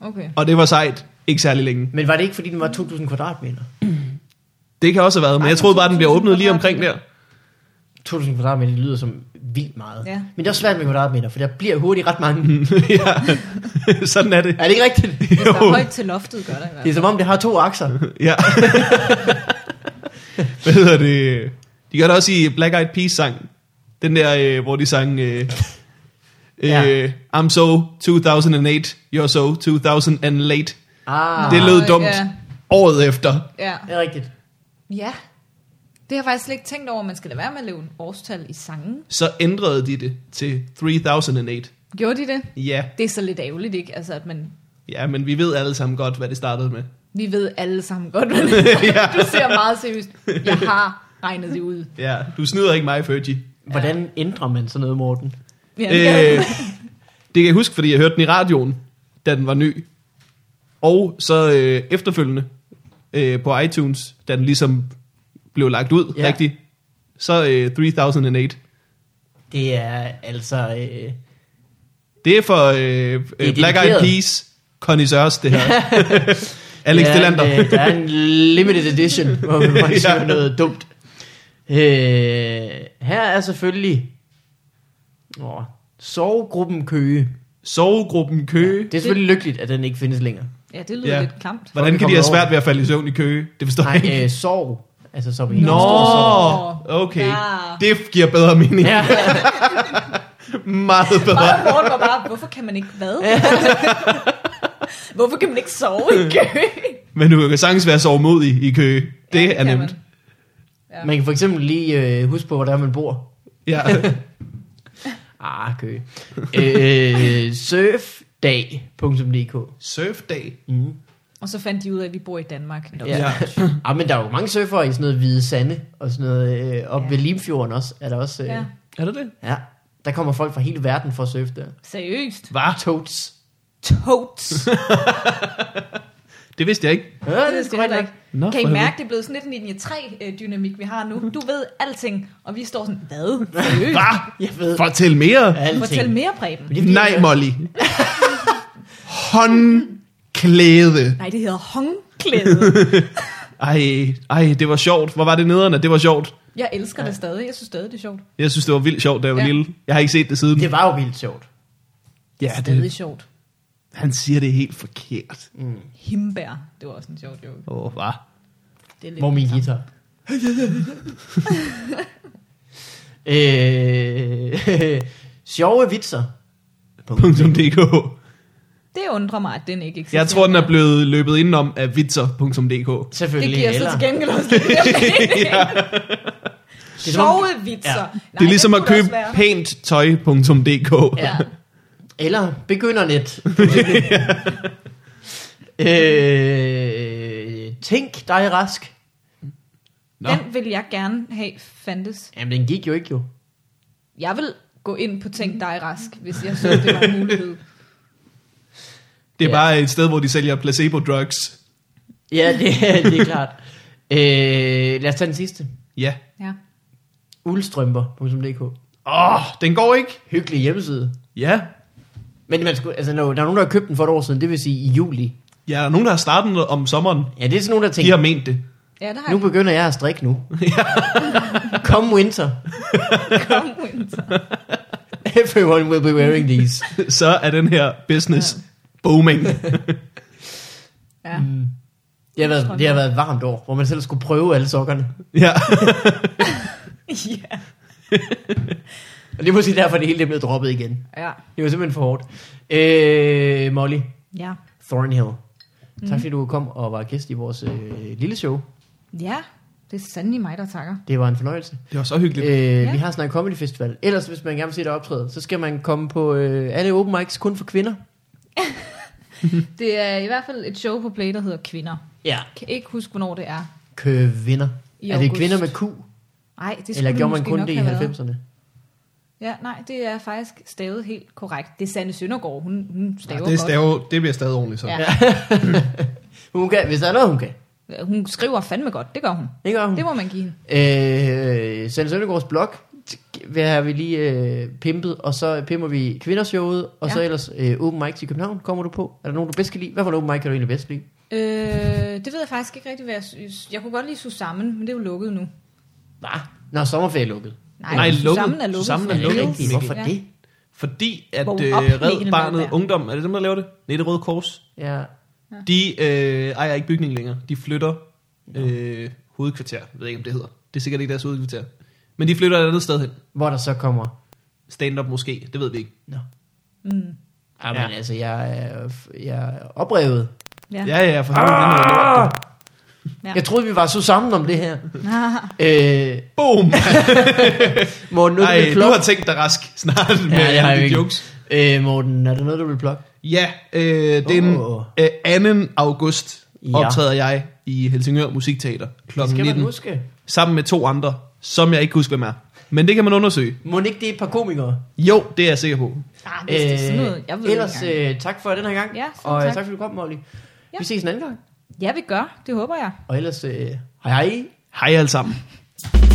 Speaker 2: Okay.
Speaker 1: Og det var sejt. Ikke særlig længe.
Speaker 3: Men var det ikke, fordi den var 2.000 kvadratmeter?
Speaker 1: Det kan også have været, men
Speaker 2: Nej,
Speaker 1: jeg troede bare, den blev
Speaker 2: 2000
Speaker 1: åbnet lige omkring der.
Speaker 3: 2.000 kvadratmeter det lyder som vildt meget.
Speaker 2: Ja.
Speaker 3: Men det er også svært med kvadratmeter, for der bliver hurtigt ret mange. Mm.
Speaker 1: ja, sådan er det.
Speaker 3: Er det ikke rigtigt?
Speaker 2: Hvis der
Speaker 1: Jo.
Speaker 2: er højt til loftet, gør der i hvert
Speaker 3: Det er
Speaker 2: fald.
Speaker 3: som om, det har to akser.
Speaker 1: Ja. Hvad hedder det? De gør det også i Black Eyed Peas sang. Den der, øh, hvor de sang... Øh,
Speaker 3: Ja.
Speaker 1: øh, I'm so 2008, you're so 2000 late.
Speaker 3: Ah,
Speaker 1: Det
Speaker 2: Nå,
Speaker 1: lød dumt.
Speaker 2: Ja,
Speaker 1: Året efter.
Speaker 2: ja.
Speaker 3: det er rigtigt.
Speaker 2: ja. Det har jeg faktisk slet ikke tænkt over, man skal lade være med at lave en årstal i sangen.
Speaker 1: Så ændrede de det til 3008.
Speaker 2: Gjorde de det?
Speaker 1: Ja,
Speaker 2: Det er så lidt ærgerligt, ikke? Altså, at man...
Speaker 1: ja, men vi ved alle sammen godt, hvad det startede med.
Speaker 2: Vi ved alle sammen godt, hvad det er. Du ser meget seriøst. Jeg har regnet det ud.
Speaker 1: Ja, du snyder ikke mig, Fergie.
Speaker 3: Hvordan ændrer man sådan noget, Morten?
Speaker 2: Ja, det gør
Speaker 1: Øh,
Speaker 2: jeg.
Speaker 1: det kan jeg huske, fordi jeg hørte den i radioen, da den var ny. Og så øh, efterfølgende øh, på iTunes, da den ligesom blev lagt ud
Speaker 3: Ja.
Speaker 1: ja. rigtigt. Så øh, 3008.
Speaker 3: Det er altså... Øh,
Speaker 1: Det er for øh, øh, Black Eyed
Speaker 3: dedikeret.
Speaker 1: Peas connoisseurs, det her. Alex
Speaker 3: der er en,
Speaker 1: Delander.
Speaker 3: øh, Der er en limited edition, hvor man
Speaker 1: Ja.
Speaker 3: ja. noget dumt. Øh, her er selvfølgelig... Åh, sovegruppen Køge.
Speaker 1: Sovegruppen Køge.
Speaker 3: Det er selvfølgelig lykkeligt, at den ikke findes længere.
Speaker 2: Ja, det lyder
Speaker 1: ja.
Speaker 2: lidt klamt.
Speaker 1: Hvordan kan de
Speaker 3: Folk kommer
Speaker 1: have
Speaker 3: over.
Speaker 1: svært ved at falde i søvn i Køge? Det forstår jeg
Speaker 3: Nej,
Speaker 1: ikke.
Speaker 3: øh, sorg. Altså som i
Speaker 1: Nå,
Speaker 3: stor sorg.
Speaker 1: okay.
Speaker 2: Ja.
Speaker 1: Det giver bedre mening.
Speaker 3: Ja.
Speaker 1: Meget bedre.
Speaker 2: Bare Morten var bare, hvorfor kan man ikke hvad? hvorfor kan man ikke sove i kø?
Speaker 1: Men du kan sagtens være sovemodig i Køge. Det,
Speaker 2: Ja,
Speaker 1: er
Speaker 2: kan
Speaker 1: nemt.
Speaker 2: man. Ja.
Speaker 3: Man kan for eksempel lige øh, huske på, hvor der man bor.
Speaker 1: Ja.
Speaker 3: Ah, Køge. øh, surfdag.dk
Speaker 1: Surfdag.
Speaker 3: mm.
Speaker 2: Og så fandt de ud af, at vi bor i Danmark. Nå.
Speaker 3: Ja. Ah, men der er jo mange surfere i sådan noget hvide sande, og sådan noget, øh, op
Speaker 2: Ja.
Speaker 3: ja. ved Limfjorden også, er der også. Øh,
Speaker 2: Ja.
Speaker 3: ja.
Speaker 1: Er det det?
Speaker 3: ja. Der kommer folk fra hele verden for at surfe der.
Speaker 2: Seriøst.
Speaker 1: Var.
Speaker 3: Totes.
Speaker 2: Totes.
Speaker 1: Det vidste jeg ikke.
Speaker 3: Ja, det er
Speaker 2: det
Speaker 3: sgu
Speaker 2: skal heller
Speaker 3: rigtigt.
Speaker 2: ikke.
Speaker 1: Nå,
Speaker 2: kan I
Speaker 1: for
Speaker 2: mærke, det er blevet sådan lidt en linje 3-dynamik, vi har nu? Du ved alting, og vi står sådan, hvad? Seriøst?
Speaker 1: Hvad?
Speaker 3: Jeg ved
Speaker 1: Fortæl mere.
Speaker 3: alting.
Speaker 2: Fortæl mere, Preben.
Speaker 3: Men det er fordi,
Speaker 1: Nej,
Speaker 3: jeg-
Speaker 1: Molly. Håndklæde.
Speaker 2: Nej, det hedder håndklæde.
Speaker 1: Ej, ej, det var sjovt. Hvor var det nederen, at det var sjovt?
Speaker 2: Jeg elsker det stadig. Jeg synes stadig, det er sjovt.
Speaker 1: Jeg synes, det var vildt sjovt, da jeg var
Speaker 2: Ja.
Speaker 1: ja. lille. Jeg har ikke set det siden.
Speaker 3: Det var jo vildt sjovt.
Speaker 1: ja,
Speaker 2: Stadig
Speaker 1: det,
Speaker 2: sjovt.
Speaker 1: han siger det helt forkert.
Speaker 2: Himbær. Det var også en sjov joke.
Speaker 1: Åh, oh, hvad?
Speaker 2: Det er lidt
Speaker 3: Hvor er min
Speaker 2: samme.
Speaker 3: guitar? øh, sjove vitser.
Speaker 1: .dk.
Speaker 2: Det undrer mig, at den ikke eksisterer.
Speaker 1: Jeg tror, den er blevet løbet indenom af vitser.dk.
Speaker 2: Det
Speaker 3: Selvfølgelig.
Speaker 2: giver så
Speaker 3: eller-
Speaker 2: til gengæld også lidt
Speaker 3: Det er som om-
Speaker 2: sjove vitser.
Speaker 3: Ja.
Speaker 2: Nej,
Speaker 1: Det er ligesom
Speaker 2: den
Speaker 1: at
Speaker 2: kunne
Speaker 1: købe
Speaker 2: også være.
Speaker 1: pænt tøj.dk.
Speaker 2: Ja.
Speaker 3: Eller begyndernet. øh, tænk dig rask.
Speaker 1: Nå.
Speaker 2: Den vil jeg gerne have fandtes.
Speaker 3: Jamen, den gik jo ikke jo.
Speaker 2: Jeg vil gå ind på Tænk dig rask, hvis jeg synes, det var en mulighed.
Speaker 1: Det er
Speaker 3: Ja.
Speaker 1: bare et sted, hvor de sælger placebo-drugs.
Speaker 3: Ja, det, det er klart. øh, lad os tage den sidste.
Speaker 1: Ja.
Speaker 2: Ja.
Speaker 3: Uldstrømper.dk
Speaker 1: Åh, oh, den går ikke.
Speaker 3: Hyggelig hjemmeside.
Speaker 1: Ja.
Speaker 3: Men man skulle, altså, når, der er nogen, der har købt den for et år siden, det vil sige i juli.
Speaker 1: Ja, der er nogen, der har startet noget om sommeren.
Speaker 3: Ja, det er sådan nogen, der
Speaker 1: De
Speaker 3: tænker,
Speaker 1: har ment det.
Speaker 2: Ja, der har
Speaker 3: nu
Speaker 2: jeg
Speaker 3: begynder jeg at strikke nu. Come winter,
Speaker 2: kommet.
Speaker 3: everyone will be wearing these.
Speaker 1: Så er den her business ja. booming.
Speaker 2: Ja.
Speaker 3: Mm. Det har, været, det har været et varmt år, hvor man selv skulle prøve alle sokkerne.
Speaker 1: ja.
Speaker 2: ja.
Speaker 3: Og det er måske derfor, det hele er blevet droppet igen.
Speaker 2: Ja.
Speaker 3: Det var simpelthen for hårdt. Øh, Molly
Speaker 2: Ja.
Speaker 3: Thornhill.
Speaker 2: Mm.
Speaker 3: Tak fordi du kom og var gæst i vores øh, lille show.
Speaker 2: Ja. Det er sandelig mig, der takker.
Speaker 3: Det var en fornøjelse.
Speaker 1: Det var så hyggeligt.
Speaker 3: Øh,
Speaker 2: Ja.
Speaker 3: Vi har snakket Comedy Festival. Ellers, hvis man gerne vil se dig optræde, så skal man komme på øh, alle open mics kun for kvinder.
Speaker 2: Det er i hvert fald et show på Play, der hedder Kvinder.
Speaker 3: Ja.
Speaker 2: Kan ikke huske, hvornår det er.
Speaker 3: Kvinder.
Speaker 2: I
Speaker 3: er det
Speaker 2: august.
Speaker 3: kvinder med Q?
Speaker 2: Nej, det skulle
Speaker 3: Eller gjorde man
Speaker 2: måske
Speaker 3: kun
Speaker 2: nok
Speaker 3: det i
Speaker 2: have været.
Speaker 3: 90'erne?
Speaker 2: Ja, nej, det er faktisk stavet helt korrekt. Det er Sanne Søndergaard, hun, hun staver
Speaker 1: det,
Speaker 2: godt.
Speaker 1: stave, det bliver stadig ordentligt så.
Speaker 2: Ja.
Speaker 1: Ja.
Speaker 3: Hun kan, hvis der er noget, hun kan.
Speaker 2: Hun skriver fandme godt, det gør hun.
Speaker 3: Det gør hun.
Speaker 2: Det må man give hende.
Speaker 3: Øh, Sanne Søndergaards blog t- hvad har vi lige øh, pimpet, og så pimper vi kvindershowet, og ja.
Speaker 2: Ja.
Speaker 3: så ellers øh, open mic til København kommer du på. Er der nogen, du bedst kan lide? Hvad for en open mic kan du egentlig bedst lide?
Speaker 2: Øh, det ved jeg faktisk ikke rigtig, hvad jeg synes. Jeg kunne godt lide Susanne, men det er jo lukket nu.
Speaker 3: Hvad? Nå, sommerferie er lukket.
Speaker 2: Nej,
Speaker 1: Nej,
Speaker 2: Susammen
Speaker 1: lukket.
Speaker 2: er lukket.
Speaker 1: Susammen er
Speaker 3: Er det
Speaker 1: lukket.
Speaker 3: rigtigt? Hvorfor
Speaker 2: Ja.
Speaker 3: det?
Speaker 1: Fordi at øh,
Speaker 2: Vågn op,
Speaker 1: Red
Speaker 2: Mikkel
Speaker 1: Barnet
Speaker 2: Malmberg.
Speaker 1: Ungdom, er det dem, der laver det? Nej, det er Røde Kors.
Speaker 3: Ja.
Speaker 1: De øh, ejer ikke bygningen længere. De flytter øh, hovedkvarter. Jeg ved ikke, om det hedder. Det er sikkert ikke deres hovedkvarter. Men de flytter et andet sted hen.
Speaker 3: Hvor der så kommer...
Speaker 1: Stand-up måske. Det ved vi ikke.
Speaker 3: Nå.
Speaker 2: Mm.
Speaker 3: Jamen, ja. altså, jeg, er f- jeg er oprevet.
Speaker 2: Ja.
Speaker 1: Ja, ja, for helvede. den hedder lort,
Speaker 3: Ah!
Speaker 1: du.
Speaker 2: Ja.
Speaker 3: Jeg troede, vi var så sammen om det her.
Speaker 2: Ah,
Speaker 3: øh,
Speaker 1: Boom!
Speaker 3: Morten, nu er
Speaker 1: Ej,
Speaker 3: det
Speaker 1: du har
Speaker 3: plug.
Speaker 1: tænkt dig rask snart med
Speaker 3: det har
Speaker 1: ja,
Speaker 3: jeg
Speaker 1: alle de
Speaker 3: ikke.
Speaker 1: jokes.
Speaker 3: Øh, Morten, er der noget, du vil plukke?
Speaker 1: Ja, øh, den
Speaker 3: Åh.
Speaker 1: øh, 2. august
Speaker 3: Ja.
Speaker 1: optræder jeg i Helsingør Musikteater kl.
Speaker 3: Det skal
Speaker 1: 19.
Speaker 3: man huske.
Speaker 1: Sammen med to andre, som jeg ikke kan huske, hvem er. Men det kan man undersøge.
Speaker 3: Må ikke det er et par komikere? Øh,
Speaker 1: Jo, det er jeg sikker på.
Speaker 2: ah, hvis det er sådan noget, jeg ved
Speaker 3: ellers,
Speaker 2: ikke engang.
Speaker 3: øh, tak for den her gang.
Speaker 2: Ja, selv
Speaker 3: og øh,
Speaker 2: tak.
Speaker 3: tak fordi du kom, Molly.
Speaker 2: Ja.
Speaker 3: Vi ses en anden gang.
Speaker 2: Ja, vi gør. Det håber jeg.
Speaker 3: Og ellers, øh, hej hej.
Speaker 1: Hej alle sammen.